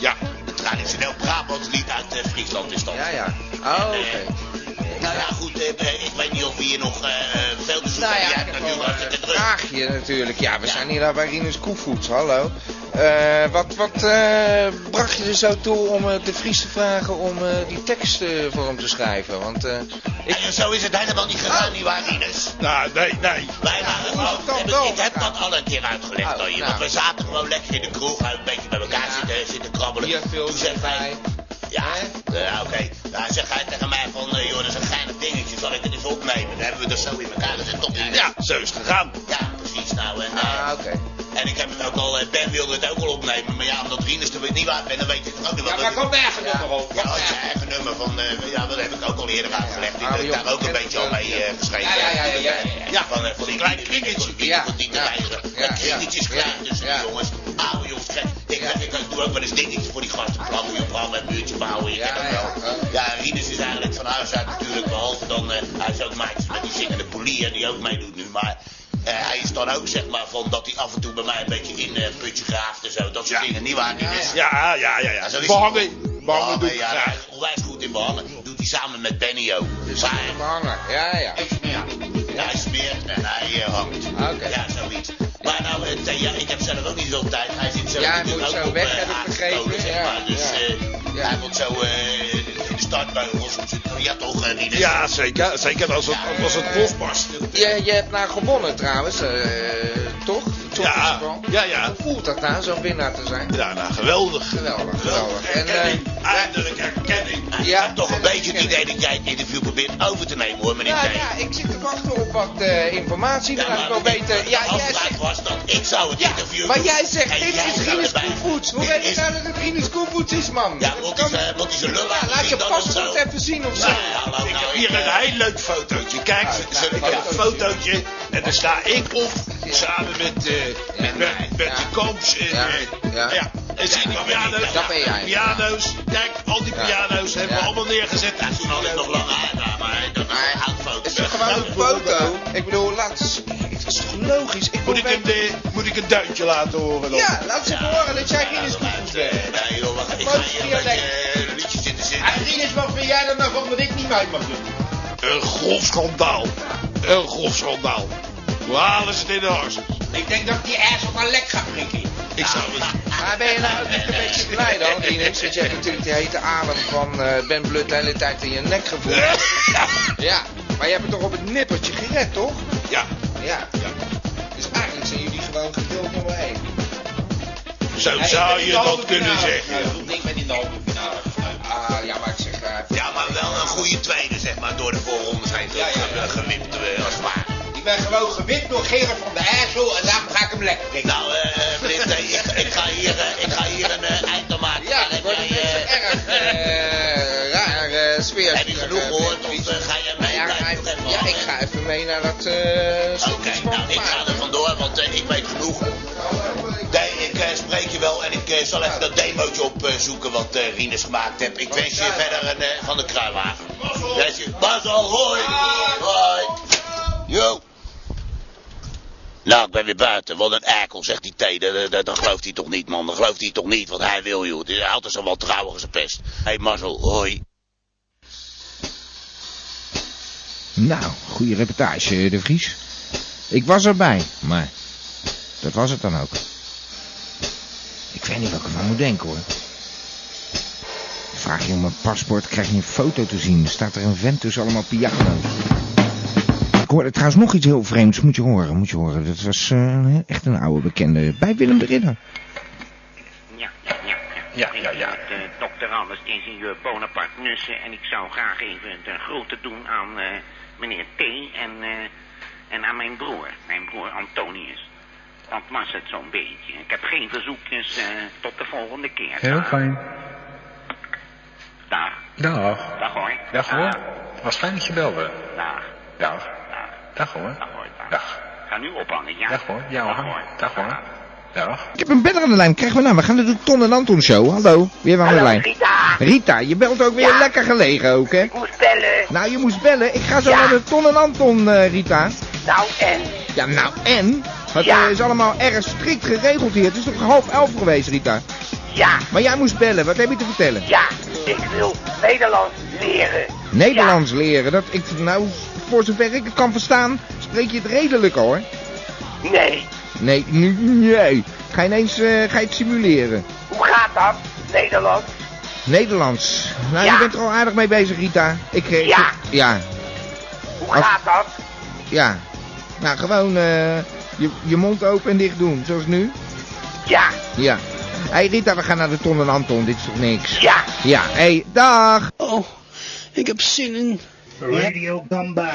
Ja. Een traditioneel Brabants lied uit eh, Friesland is dat. Ja, ja. Oh, oké. Nou ja, goed, eh, eh, ik weet niet of we hier nog eh, eh, veel bezoek Nou hebben. ja, Jij hebt ik heb natuurlijk wel eh, hartstikke een druk. vraagje natuurlijk. Ja, we zijn hier nou bij Rinus Koevoets, hallo. Eh, wat wat eh, bracht je er zo toe om eh, de Vries te vragen om eh, die tekst eh, voor hem te schrijven? Want eh, Ik, en zo is het helemaal niet gegaan, nietwaar, Rinus? Nou, nee, nee. Wij waren het dan gewoon... wel? Ik heb dat al een keer uitgelegd Oh, aan je. nou. Want we zaten gewoon lekker in de kroeg, een beetje bij elkaar zitten, zitten krabbelen. Bierveeltje Toen zegt hij... erbij. Ja, Hè? eh, oké. Nou, zegt hij tegen zo in elkaar gestopt. Ja, zo is het gegaan. Ja, precies nou. En, ah, oké. En ik heb het ook al, eh, Ben wilde het ook al opnemen, maar ja, omdat Rinus er niet waar ben, dan weet ik het ook niet. Ja, maar kom mijn eigen nummer op. Ja, ja, eigen nummer van, eh, ja, dat heb ik ook al eerder uitgelegd. Ik heb daar ook een beetje al mee eh, geschreven. Ja, ja, ja, ja, ja, Ja, van, eh, van die kleine kringetjes, die ja. die te weigeren. Dat kringetje is klein tussen die jongens. Oude jongens, gek. Ik, ik, ik doe ook wel eens dingetjes voor die gasten. Plannen, joh, plannen, een muurtje bouwen, je kent dat wel. Ja, Rinus is eigenlijk van huis uit natuurlijk, behalve dan, eh, hij is ook maatjes met die zingende polier die ook meedoet nu, maar... eh, hij is dan ook zeg maar van dat hij af en toe bij mij een beetje in eh putje graaft en zo. Dat soort dingen, niet waar? Rinus? Ja, ja, ja, ja. zo is Behangen. hij. Behangen doe ik ja, graag. hij is onwijs goed in behangen. Doet hij samen met Benny ook. Dus hij Behangen, ja, ja. ja, hij smeert en hij eh, hangt. Ah, Ja, zoiets. Maar nou, het, eh, ja, ik heb zelf ook niet veel tijd. Hij zit zelf Ja, hij natuurlijk moet ook zo op, weg, eh, heb ik aangekomen, begrepen. zeg Ja, maar. Dus ja. eh, hij wordt zo eh, in de startbeugel soms zitten. Ja, toch, eh, Rinus? Ja, zeker. Zeker als het, als het profpast. Je, je hebt nou gewonnen trouwens, eh, toch? Ja, ja, ja. Hoe voelt dat nou, zo'n winnaar te zijn? Ja, nou, geweldig. Geweldig, geweldig. En, eh, Eindelijk herkenning. ik heb toch een beetje het idee dat jij het interview probeert over te nemen, hoor, meneer ja, T. ja, ik zit te wachten op wat eh, informatie. Dan Ja, ga ik maar wel ik- weten. de Ja, jij afspraak zegt, was dat ik zou het interview maar doen. jij zegt, En dit jij is zou Rinus erbij. Koevoets. Hoe Dit weet je is- nou dat het Rinus Koevoets is, man? Ja, moet hij zijn- moet hij zijn lul Ja, laten laat je zien dan of paspoort zo? even zien of zo. Nou, hallo, nou, ik, Hier eh, een heel leuk fotootje. Kijk, zo- ik heb een fotootje. En daar sta ik op. Samen met, eh met, met, met de Koops. En, Ja. eh, Ja. ja. En zie die piano's. Dat ben jij. Piano's. Kijk, al die Ja. piano's hebben we Ja. allemaal neergezet. Ja, toen had ik nog lange haar, maar dat is een oud foto. Het is gewoon een foto. Ik bedoel, laat eens- Het is toch logisch. Ik moet, ik een, eh, moet ik een duintje laten horen? dan? Eh, Ja, laat ze horen dat jij Rinus Koevoets bent. Nee, joh, wacht, ik Mooiste ga hier een dialect. beetje eh, liedjes in de zin. En Rinus, Ah, wat vind jij er nou van dat ik niet mee mag doen? Een grof schandaal. Een grof schandaal. Hoe halen ze het in de harsen? Ik denk dat ik die ass op mijn lek ga prikken. Ik zou het... Ah, Maar ben je nou ook niet een beetje blij dan, Rinus? Dat je hebt natuurlijk die hete adem van eh, Ben Blut de hele tijd in je nek gevoeld. Ja, maar je hebt het toch op het nippertje gered, toch? Ja. Ja. Dus eigenlijk zijn jullie gewoon geduld nummer 1. Zo zou je dat kunnen zeggen. Ik ben in de halve finale. Ah, ja, maar ik zeg... eh, Ja, maar wel een goede tweede, zeg maar, door de voorronde zijn ze eh, gewipt, eh, als het ware. Ik ben gewoon gewipt door Gerard van der Eijssel en daarom ga ik hem lekker prikken. Nou, eh, meneer T, ik, ik, ga hier, eh, ik ga hier een eh, eind aan maken. Ja, het wordt een beetje erg eh, raar eh, sfeer. Heb je genoeg gehoord of eh, ga je mee? Ja, Blijf hij- nog even ja, ik hangen. ga even mee naar dat eh Oké, nou, ik ga er vandoor, want eh, ik weet genoeg. Nee, ik eh, spreek je wel en ik eh, zal even dat demootje opzoeken wat eh Rinus gemaakt heeft. Ik wens je verder een eh, van de kruiwagen. Wens je- Basel, hoi! Hoi! Yo! Nou, ik ben weer buiten. Wat een eikel, zegt die T. Dat, dat, dat gelooft hij toch niet, man. Dat gelooft hij toch niet, wat hij wil, joh. Het is altijd zo wel trouwig als een pest. Hé, hey, Marcel, hoi. Nou, goede reportage, eh, De Vries. Ik was erbij, maar dat was het dan ook. Ik weet niet wat ik ervan moet denken, hoor. Vraag je om mijn paspoort, krijg je een foto te zien. Er staat er een vent tussen allemaal piano's. Ik hoorde trouwens nog iets heel vreemds. Moet je horen, moet je horen. Dat was eh, echt een oude bekende bij Willem de Ridder. Ja, ja, ja. eh, Ja, ja, ja. dokter Anders, ingenieur Bonaparte Nussen. En ik zou graag even de groeten doen aan eh, meneer T. En, eh, en aan mijn broer, mijn broer Antonius. Dat was het zo'n beetje. Ik heb geen verzoekjes. eh, tot de volgende keer. Heel fijn. Dag. Dag. Dag hoor. Dag hoor. Was fijn dat je belde. Dag. Dag. Dag hoor. Dag hoor. Dag. Ga nu ophangen, ja? Dag hoor. Ja hoor. Dag hoor. Dag. Ik heb een beller aan de lijn. Krijgen we nou? We gaan naar de Ton en Anton show. Hallo, weer aan de Hallo, lijn. Rita. Rita, je belt ook weer Ja. lekker gelegen ook, hè? moest bellen. Nou, je moest bellen. Ik ga zo Ja. naar de Ton en Anton, eh, Rita. Nou, en? Ja, nou en? Het Ja. eh, is allemaal erg strikt geregeld hier. Het is toch half elf geweest, Rita? Ja. Maar jij moest bellen. Wat heb je te vertellen? Ja, ik wil Nederlands leren. Nederlands leren. Dat ik, nou, voor zover ik het kan verstaan, spreek je het redelijk hoor. Nee, Nee, n- nee. Ga je ineens eh, ga je het simuleren. hoe gaat dat? Nederlands? Nederlands. Nou, Ja. je bent er al aardig mee bezig, Rita. Ik, eh, Ja. ja. Hoe Als- gaat dat? Ja. Nou, gewoon eh, je, je mond open en dicht doen, zoals nu. Ja, Ja. Hé hey Rita, we gaan naar de Ton en Anton. Dit is toch niks? Ja. Ja, hé, hey, dag. Oh, ik heb zin in. Radio Gamba.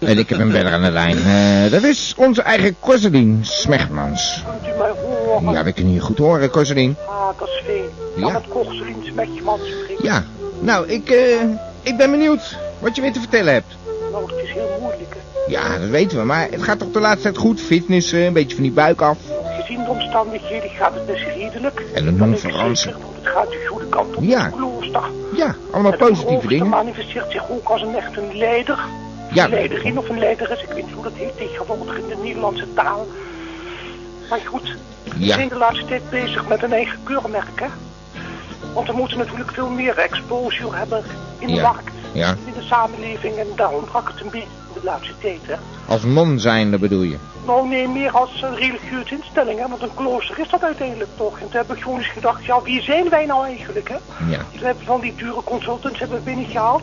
En ik heb een beller aan de lijn. Eh, dat is onze eigen Korselien Smegmans. Kunt u mij horen? Ja, we kunnen je goed horen, Korselien. Ah, Hakersveen. Ja. Aan het Korselien Smekjemans spreekt. Ja, nou, ik, eh, ik ben benieuwd wat je weer te vertellen hebt. Nou, het is heel moeilijk. hè. Ja, dat weten we, maar het gaat toch de laatste tijd goed? Fitnessen, een beetje van die buik af. Gezien de omstandigheden gaat het best redelijk. En een nonferantie. Het gaat de goede kant op. Ja. Het klooster. Ja, allemaal positieve Het dingen. manifesteert zich ook als een echt een leider. Ja. Een leiderin of een leideres. Ik weet niet hoe dat heet tegenwoordig in de Nederlandse taal. Maar goed, we Ja. zijn de laatste tijd bezig met een eigen keurmerk, hè? Want we moeten natuurlijk veel meer exposure hebben in de Ja. markt, Ja, in de samenleving. En daar ontbrak het een beetje de laatste tijd, hè? als non zijnde bedoel je. Nou, nee, meer als een religieuze instelling, hè? Want een klooster is dat uiteindelijk toch. En toen heb ik gewoon eens gedacht, ja, wie zijn wij nou eigenlijk, hè? Ja, Toen hebben we van die dure consultants hebben we binnengehaald.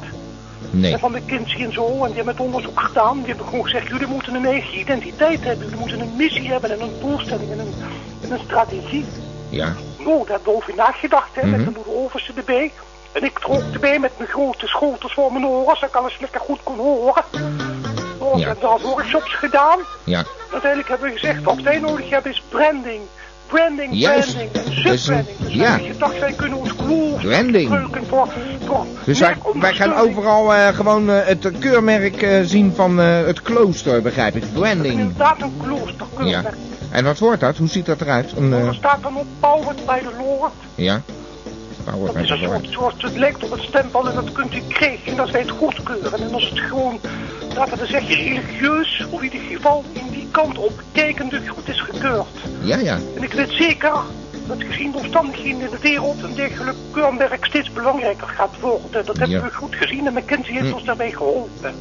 nee. En van McKinsey en zo. En die hebben het onderzoek gedaan. Die hebben gewoon gezegd, jullie moeten een eigen identiteit hebben. Jullie moeten een missie hebben en een doelstelling en een, en een strategie. Ja, Nou, daar hebben we over nagedacht, hè. Mhm. Met de moederoverste erbij. En ik trok erbij met mijn grote schotels voor mijn oren, zodat ik alles lekker goed kon horen. Nou, Ja. We hebben al workshops gedaan. ja. Uiteindelijk hebben we gezegd, wat wij nodig hebben is branding. Branding, Juist. branding en Dus een, subbranding. Dus ja, Ik dacht, wij kunnen ons kloof branding. gebruiken voor, voor Dus wij, wij gaan overal eh, gewoon eh, het keurmerk eh, zien van eh, het klooster, begrijp ik. Branding. inderdaad een klooster. Ja. En wat wordt dat? Hoe ziet dat eruit? Een, eh, Er staat dan op Powered by the Lord. ja. Nou, wat Dat is een mij soort, behoort. soort- het lijkt op het stempel en dat kunt u krijgen en dat wij het goedkeuren. En als het gewoon, laten we zeggen, religieus, of in ieder geval in die kant op kijkende goed is gekeurd. Ja, ja. En ik weet zeker dat gezien de omstandigheden in de wereld een dergelijk keurmerk steeds belangrijker gaat worden. Dat hebben Ja. we goed gezien en McKinsey heeft Hm. ons daarbij geholpen.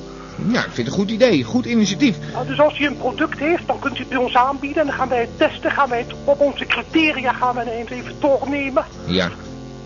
Ja, ik vind het een goed idee. Goed initiatief. Nou, dus als u een product heeft, dan kunt u het bij ons aanbieden en dan gaan wij het testen, gaan wij het op onze criteria gaan wij het even doornemen. Ja.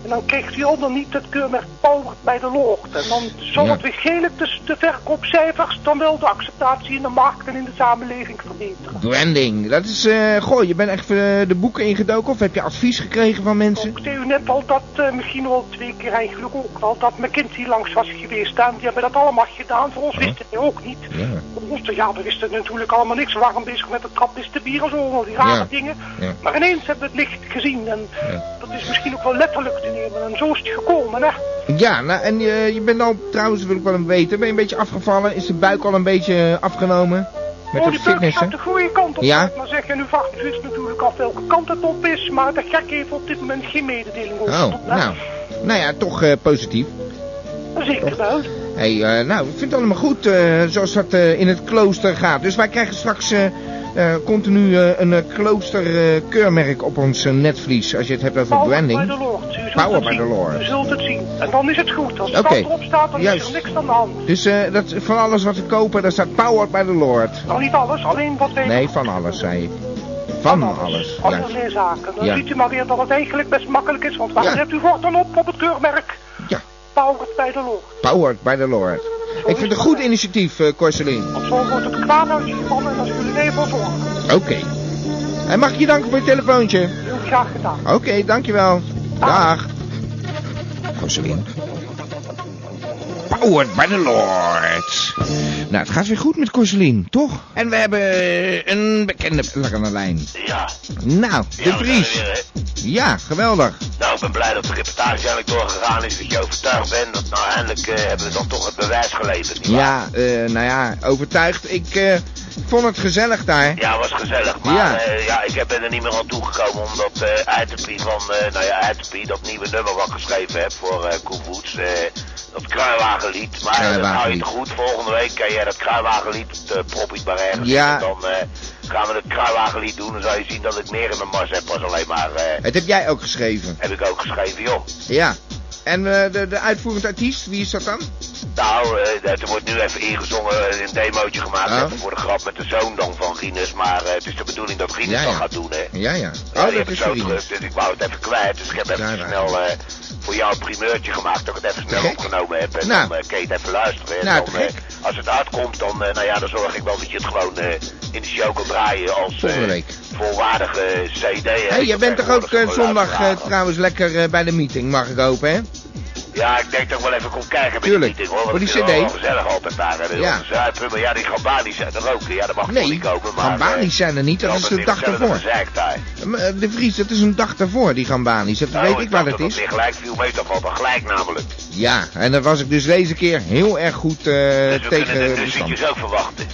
En dan krijgt u al dan niet het keurmerk powered bij de Lord. En dan zal Ja. het weer gelijk dus de verkoopcijfers dan wel de acceptatie in de markt en in de samenleving verbeteren. Branding. Dat is, eh goh, je bent echt eh, de boeken ingedoken of heb je advies gekregen van mensen? Ik zei u net al dat, eh, misschien wel twee keer eigenlijk ook al, dat McKinsey langs was geweest. En die hebben dat allemaal gedaan. Voor ons wisten die ook niet. Ja. Voor ons, ja, we wisten natuurlijk allemaal niks. We waren bezig met de trappistenbier en zo, al die rare Ja. dingen. Ja. Maar ineens hebben we het licht gezien. En Ja. dat is misschien ook wel letterlijk te nemen. En zo is het gekomen, hè. Ja, nou, en eh, je bent al, trouwens wil ik wel een weten, ben je een beetje afgevallen? Is de buik al een beetje eh, afgenomen? Met oh, dat die beuk gaat fitnessen? de goede kant op, Ja. zou ik maar zeggen. Nu vraagt u zich natuurlijk af welke kant het op is, maar daar ga ik even op dit moment geen mededeling over Oh, doen, hè. nou. Nou ja, toch eh, positief. Zeker wel. Hey, eh, nou, ik vind het allemaal goed eh, zoals dat eh, in het klooster gaat. Dus wij krijgen straks eh, eh, continu eh, een eh, klooster eh, keurmerk op ons eh, netvlies. Als je het hebt over By branding. the Lord. U zult Power het by zien. the Lord. U zult het zien. En dan is het goed. Als het Oké. erop staat, dan is Juist. er niks aan de hand. Dus eh, dat, van alles wat we kopen, daar staat powered by the Lord. Nou, niet alles, alleen wat wij... Nee, van alles, zei ik. Van alles. Ja. Allerlei zaken. Dan Ja. ziet u maar weer dat het eigenlijk best makkelijk is, want waar zet u voor dan op op het keurmerk? Ja. Powered by the Lord. Powered by the Lord. Ik vind het een goed initiatief, eh Corselien. Zo wordt het kwaad uitgespannen en als jullie mee voor zorgen. Oké. En mag ik je danken voor je telefoontje? Heel graag gedaan. Oké, dankjewel. Dag. Corselien. Powered by the Lord. Nou, het gaat weer goed met Corselien, toch? En we hebben eh, een bekende plek aan de lijn. Ja. Nou, Ja, de we Vries. zijn er weer, hè. Ja, geweldig. Nou, ik ben blij dat de reportage eigenlijk doorgegaan is. Dat je overtuigd bent dat nou eindelijk eh, hebben we dan toch het bewijs geleverd. nietwaar? Ja, eh, nou ja, overtuigd. Ik eh, vond het gezellig daar. Ja, was gezellig. Maar eh, Ja. ja. ja, ik heb- ben er niet meer aan toegekomen omdat eh Uiterpie van, eh, nou ja, Uiterpie, dat nieuwe nummer wat ik geschreven heb voor eh Koen Woets, eh, dat kruiwagenlied. Maar eh, dat hou je Kruiwagenlied. het goed. Volgende week kan jij dat kruiwagenlied, eh prop ik maar ergens. Ja. in. En dan eh, gaan we dat kruiwagenlied doen. Dan zal je zien dat ik meer in mijn mars heb als alleen maar, eh, Het heb jij ook geschreven. heb ik ook geschreven, joh. Ja. En eh, de, de uitvoerend artiest, wie is dat dan? Nou, eh, er wordt nu even ingezongen, eh, een demootje gemaakt Oh. even voor de grap met de zoon dan van Guinness. Maar eh, het is de bedoeling dat Guinness Ja, dat ja. gaat doen, hè. Ja, ja. Ja, Oh, die dat heb ik is zo Corine. terug, dus ik wou het even kwijt. Dus ik heb even ja. snel eh, voor jou een primeurtje gemaakt dat ik het even snel opgenomen heb. En Nou. dan eh, kun je het even luisteren. En Nou, dan, te eh, gek. als het uitkomt, dan, eh, nou ja, dan zorg ik wel dat je het gewoon eh, in de show kan draaien als eh, Volgende week. volwaardige CD. hè. Hé, hey, Je jij bent toch ook tegenwoordig eh, gewoon zondag eh, luisteraar. trouwens lekker eh, bij de meeting, mag ik hopen, hè? Ja, ik denk dat ik wel even kom kijken bij Tuurlijk. die meeting, hoor. Maar Want die het is wel CD? gezellig altijd daar. Hè. Ja. Ja. Zuipen, maar ja, die Gambanis zijn er ook. Ja, dat mag Nee, toch niet komen. maar, Gambani's eh, zijn er niet, dat ja, is de niet dag gezellig, ervoor. Dat is een zeiktaai. Maar, eh, De Vries, dat is een dag daarvoor, die Gambani's. Dat Nou, weet ik waar dacht dat is. Eh, Dat gelijk viel mee, dat valt wel gelijk namelijk. Ja, en dat was ik dus deze keer heel erg goed eh, Dus We kunnen tegen de bestand. duzetjes ook verwachten.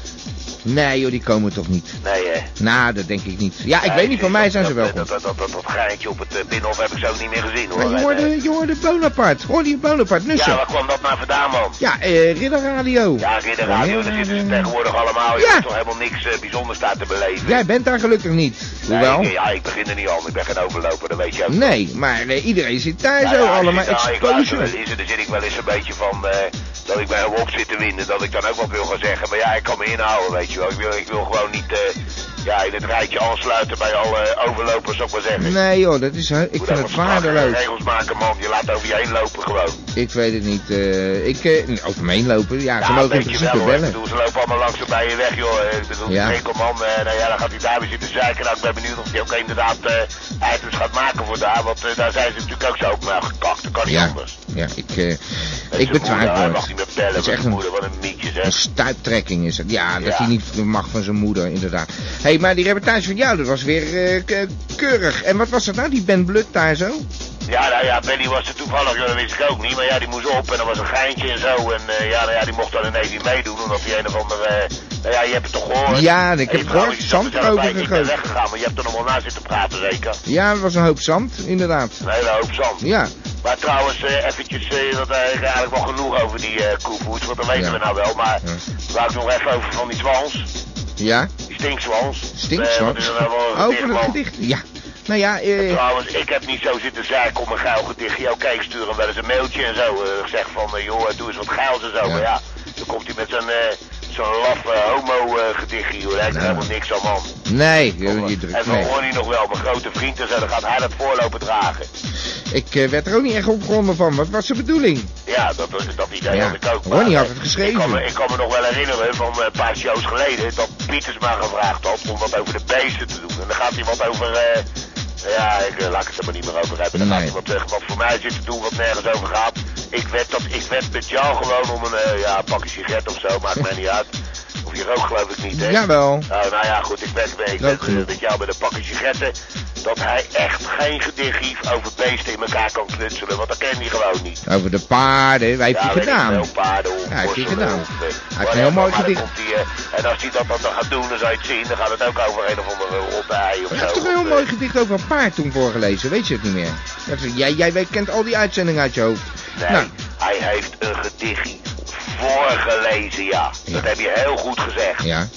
Nee joh, die komen toch niet. Nee, hè. Nou, dat denk ik niet. Ja, ik Nee, weet niet, van mij zijn ze wel Eh, Dat, goed. dat, dat, dat, dat geintje op het eh, binnenhof heb ik zo niet meer gezien, hoor. Maar je En, hoorde, je hoorde Bonaparte, hoorde je Bonaparte, eh, ja, Nussen. waar kwam dat nou vandaan, man? Ja, eh Ridderradio. Ja, in de radio, daar zitten ze tegenwoordig allemaal. Je hebt toch helemaal niks eh, bijzonders daar te beleven. Jij bent daar gelukkig niet, Nee, hoewel. ik- ja, ik begin er niet aan. Ik ben geen overloper, dat weet je ook. Nee, maar eh, iedereen zit daar Nou zo ja, allemaal ik zit- nou, ik luister wel exposure. eens en dan zit ik wel eens een beetje van eh, dat ik bij hem op zit te winnen. Dat ik dan ook wat wil gaan zeggen. Maar ja, ik kan me inhouden, weet je wel. Ik wil, ik wil gewoon niet eh, ja, in het rijtje aansluiten bij alle overlopers, zou ik maar zeggen. Nee joh, dat is, he- ik vind het Geen waardeloos. regels maken, man. Je laat over je heen lopen gewoon. Ik weet het niet, eh, ik, eh, over me heen lopen, ja, ze mogen in weet je wel, principe hoor. Ik bellen. bedoel, ze lopen allemaal langs bij je weg, joh. Eh, Ik bedoel, Ja. ja. enkel man, eh, nou ja, dan gaat hij daar weer zitten zeiken. Nou, ik ben benieuwd of hij ook inderdaad eh items gaat maken voor daar. Want eh, daar zijn ze natuurlijk ook zo op naar gekakt. Dat kan niet Ja, anders. ja, ik, eh, Met ik zijn moeder, betwijfel Hij het. mag niet meer bellen Het met is echt zijn een, moeder. Wat een mietje, een zeg. stuiptrekking is het. Ja, dat Ja. hij niet mag van zijn moeder, inderdaad. Hé, hey, maar die reportage van jou, dat was weer eh, ke- keurig. En wat was dat nou, die Ben Blut daar zo? Ja, nou ja, Benny was er toevallig, joh, dat wist ik ook niet. Maar ja, die moest op en er was een geintje en zo. En eh, ja, nou ja, die mocht dan ineens niet meedoen. Omdat die een of andere... eh, nou ja, je hebt het toch gehoord? Ja, ik heb En je het vrouw gehoord. is er zelf Zand bij. erover Ik ben gegooid. weggegaan, maar je hebt er nog wel na zitten praten, zeker? Ja, dat was een hoop zand, inderdaad. Een hele hoop zand. Ja, Maar trouwens, eh, eventjes, eh, dat eh, eigenlijk wel genoeg over die eh koevoets, want dat weten we nou wel. Maar wou ik nog even over van die zwans, ja, die stinkzwans. stinkzwart. Eh, want er is wel een oh, gedicht van het van. gedicht. Ja, nou ja, eh, Trouwens, ik heb niet zo zitten zeiken om een geil gedichtje. Oké, ik stuur hem wel eens een mailtje en zo. eh, zeg van, eh, joh, eh, doe eens wat geils en zo. Maar ja, dan komt hij met zo'n eh, zo'n laf eh, homo eh, gedichtje, joh. Daar heb ik helemaal niks aan, man. nee, je, je drukt En van nee. Ronnie nog wel, mijn grote vriend en zo. Dan gaat hij dat voorlopen dragen. Ik eh, werd er ook niet echt opgewonden van. Wat was de bedoeling? Ja, dat, dat idee Ja, had ik ook. Ronnie maar, had eh, het geschreven. Ik kan, me, ik kan me nog wel herinneren van eh, een paar shows geleden dat Pieters maar gevraagd had om wat over de beesten te doen. En dan gaat hij wat over. eh, ja, ik, eh, laat ik het er maar niet meer over hebben. Dan gaat hij wat, eh, wat voor mij zit te doen wat nergens over gaat. Ik werd, dat, ik werd met jou gewoon om een eh, ja, pakje sigaret of zo, maakt mij niet uit. Of je rookt geloof ik niet, hè? Jawel. Nou, nou ja, goed, ik werd, ik Rook werd genoeg. eh, met jou met een pakje sigaretten. Dat hij echt geen gedicht over beesten in elkaar kan knutselen, want dat ken hij gewoon niet. Over de paarden, wij heeft Ja, hij weet ik gedaan. veel, paarden of Ja, heeft hij worstelen gedaan. of, eh, heeft een whatever, heel mooi maar dan gedicht. komt die, eh, en als hij dat dan gaat doen, dan zou je het zien, dan gaat het ook over een of andere rotte ei of Hij zo. heeft toch een heel mooi gedicht over een paard toen voorgelezen, weet je het niet meer? Dat is- jij, jij weet- kent al die uitzendingen uit je hoofd. Nee, Nou, hij heeft een gedichtje voorgelezen, ja. Dat heb je heel goed gezegd. ja.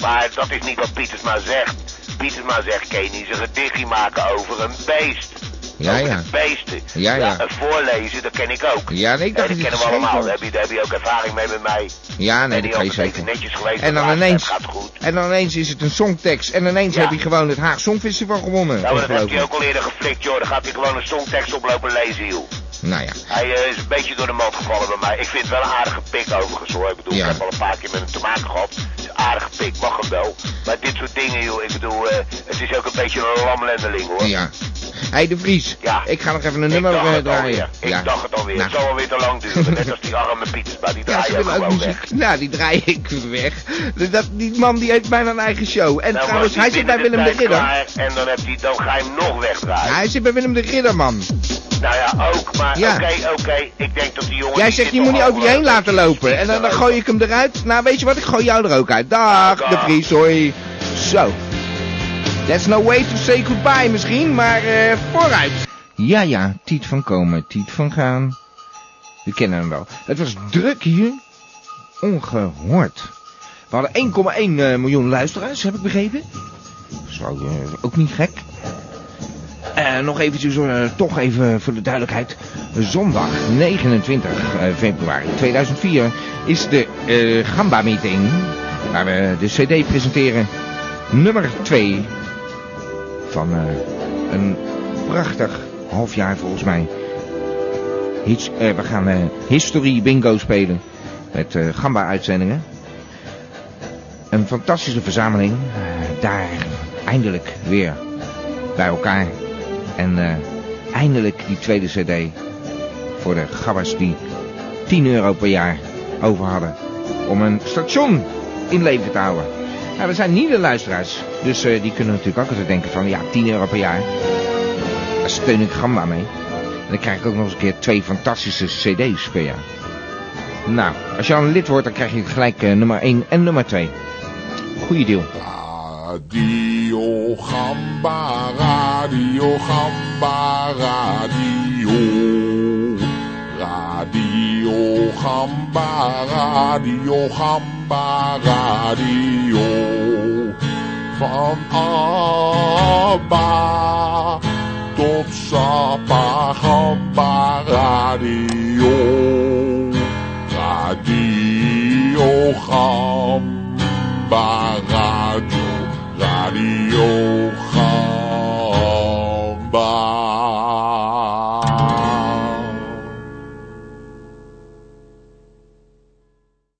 Maar dat is niet wat Pietersma zegt. Pietersma zegt, kan je niet eens een gedichtje maken over een beest. Ja, ja. Beesten. Ja, ja. Een voorlezen, dat ken ik ook. Ja, nee, ik dacht dat dat kennen we het geschreven allemaal. was. Daar heb, je, daar heb je ook ervaring mee met mij. Ja, nee, En dat die kan je had het even zeker. netjes gelezen. En dan maar ineens, Het gaat goed. en dan ineens is het een songtekst. En ineens heb je gewoon het Haag Songfestival gewonnen. Nou, maar dat heeft ongelooflijk. hij ook al eerder geflikt, joh. Dan gaat hij gewoon een songtekst oplopen lezen, joh. Nou ja. Hij eh, is een beetje door de mand gevallen bij mij. Ik vind het wel een aardige pik overigens, hoor. Ik bedoel, Ja. ik heb al een paar keer met hem te maken gehad. Het is een aardige pik, mag hem wel. Maar dit soort dingen, joh. Ik bedoel, eh, het is ook een beetje een lamlendeling, hoor. Ja. Hé, hey, De Vries. Ik ga nog even een nummer dacht eh, het draaien. Ik dacht het alweer. Het zal alweer te lang duren. Net als die arme Pieters, maar die Nou. Ja, ze draaien willen ook gewoon muziek. weg. Nou, die draai ik weg. Dat, die man die heeft bijna een eigen show. En Nou, trouwens, was hij zit bij binnen Willem de tijd Ridder. klaar En dan, heb die, dan ga je hem nog wegdraaien. Hij zit bij Willem de Ridder, man. Nou ja, ook, maar oké, Ja. oké. Ik denk dat die jongen... Jij die zegt, zit je moet niet toch over je al, heen eh, laten lopen. En dan, dan gooi ik hem eruit. Nou, weet je wat? Ik gooi jou er ook uit. Dag, Dag. de Vries, hoi. Zo. That's no way to say goodbye misschien, maar eh, vooruit. Ja, ja, Tiet van komen, Tiet van gaan. We kennen hem wel. Het was druk hier. Ongehoord. We hadden 1,1 eh, miljoen luisteraars, heb ik begrepen. Zo, eh, ook niet gek. Eh, nog eventjes, eh, toch even voor de duidelijkheid. Zondag 29 eh, februari 2004 is de eh, Gamba-meeting. Waar we de cd presenteren. Nummer 2 van eh, een prachtig half jaar volgens mij. Hits- eh, we gaan eh History Bingo spelen met eh, Gamba-uitzendingen. Een fantastische verzameling. eh, daar eindelijk weer bij elkaar. En eh, eindelijk die tweede cd. voor de gabbers die 10 euro per jaar over hadden om een station in leven te houden. Ja, we zijn niet de luisteraars, dus eh, die kunnen natuurlijk ook altijd denken van ja, 10 euro per jaar, daar steun ik Gamba mee. En dan krijg ik ook nog eens een keer twee fantastische cd's per jaar. Nou, als je al een lid wordt, dan krijg je gelijk eh, nummer 1 en nummer 2. Goeie deal. Radio Gamba, Radio Gamba, Radio. Radio Gamba, Radio Gamba, Radio. Van Abba tot Sapa Gamba, Radio. Radio Gamba, Radio. Radio Gamba.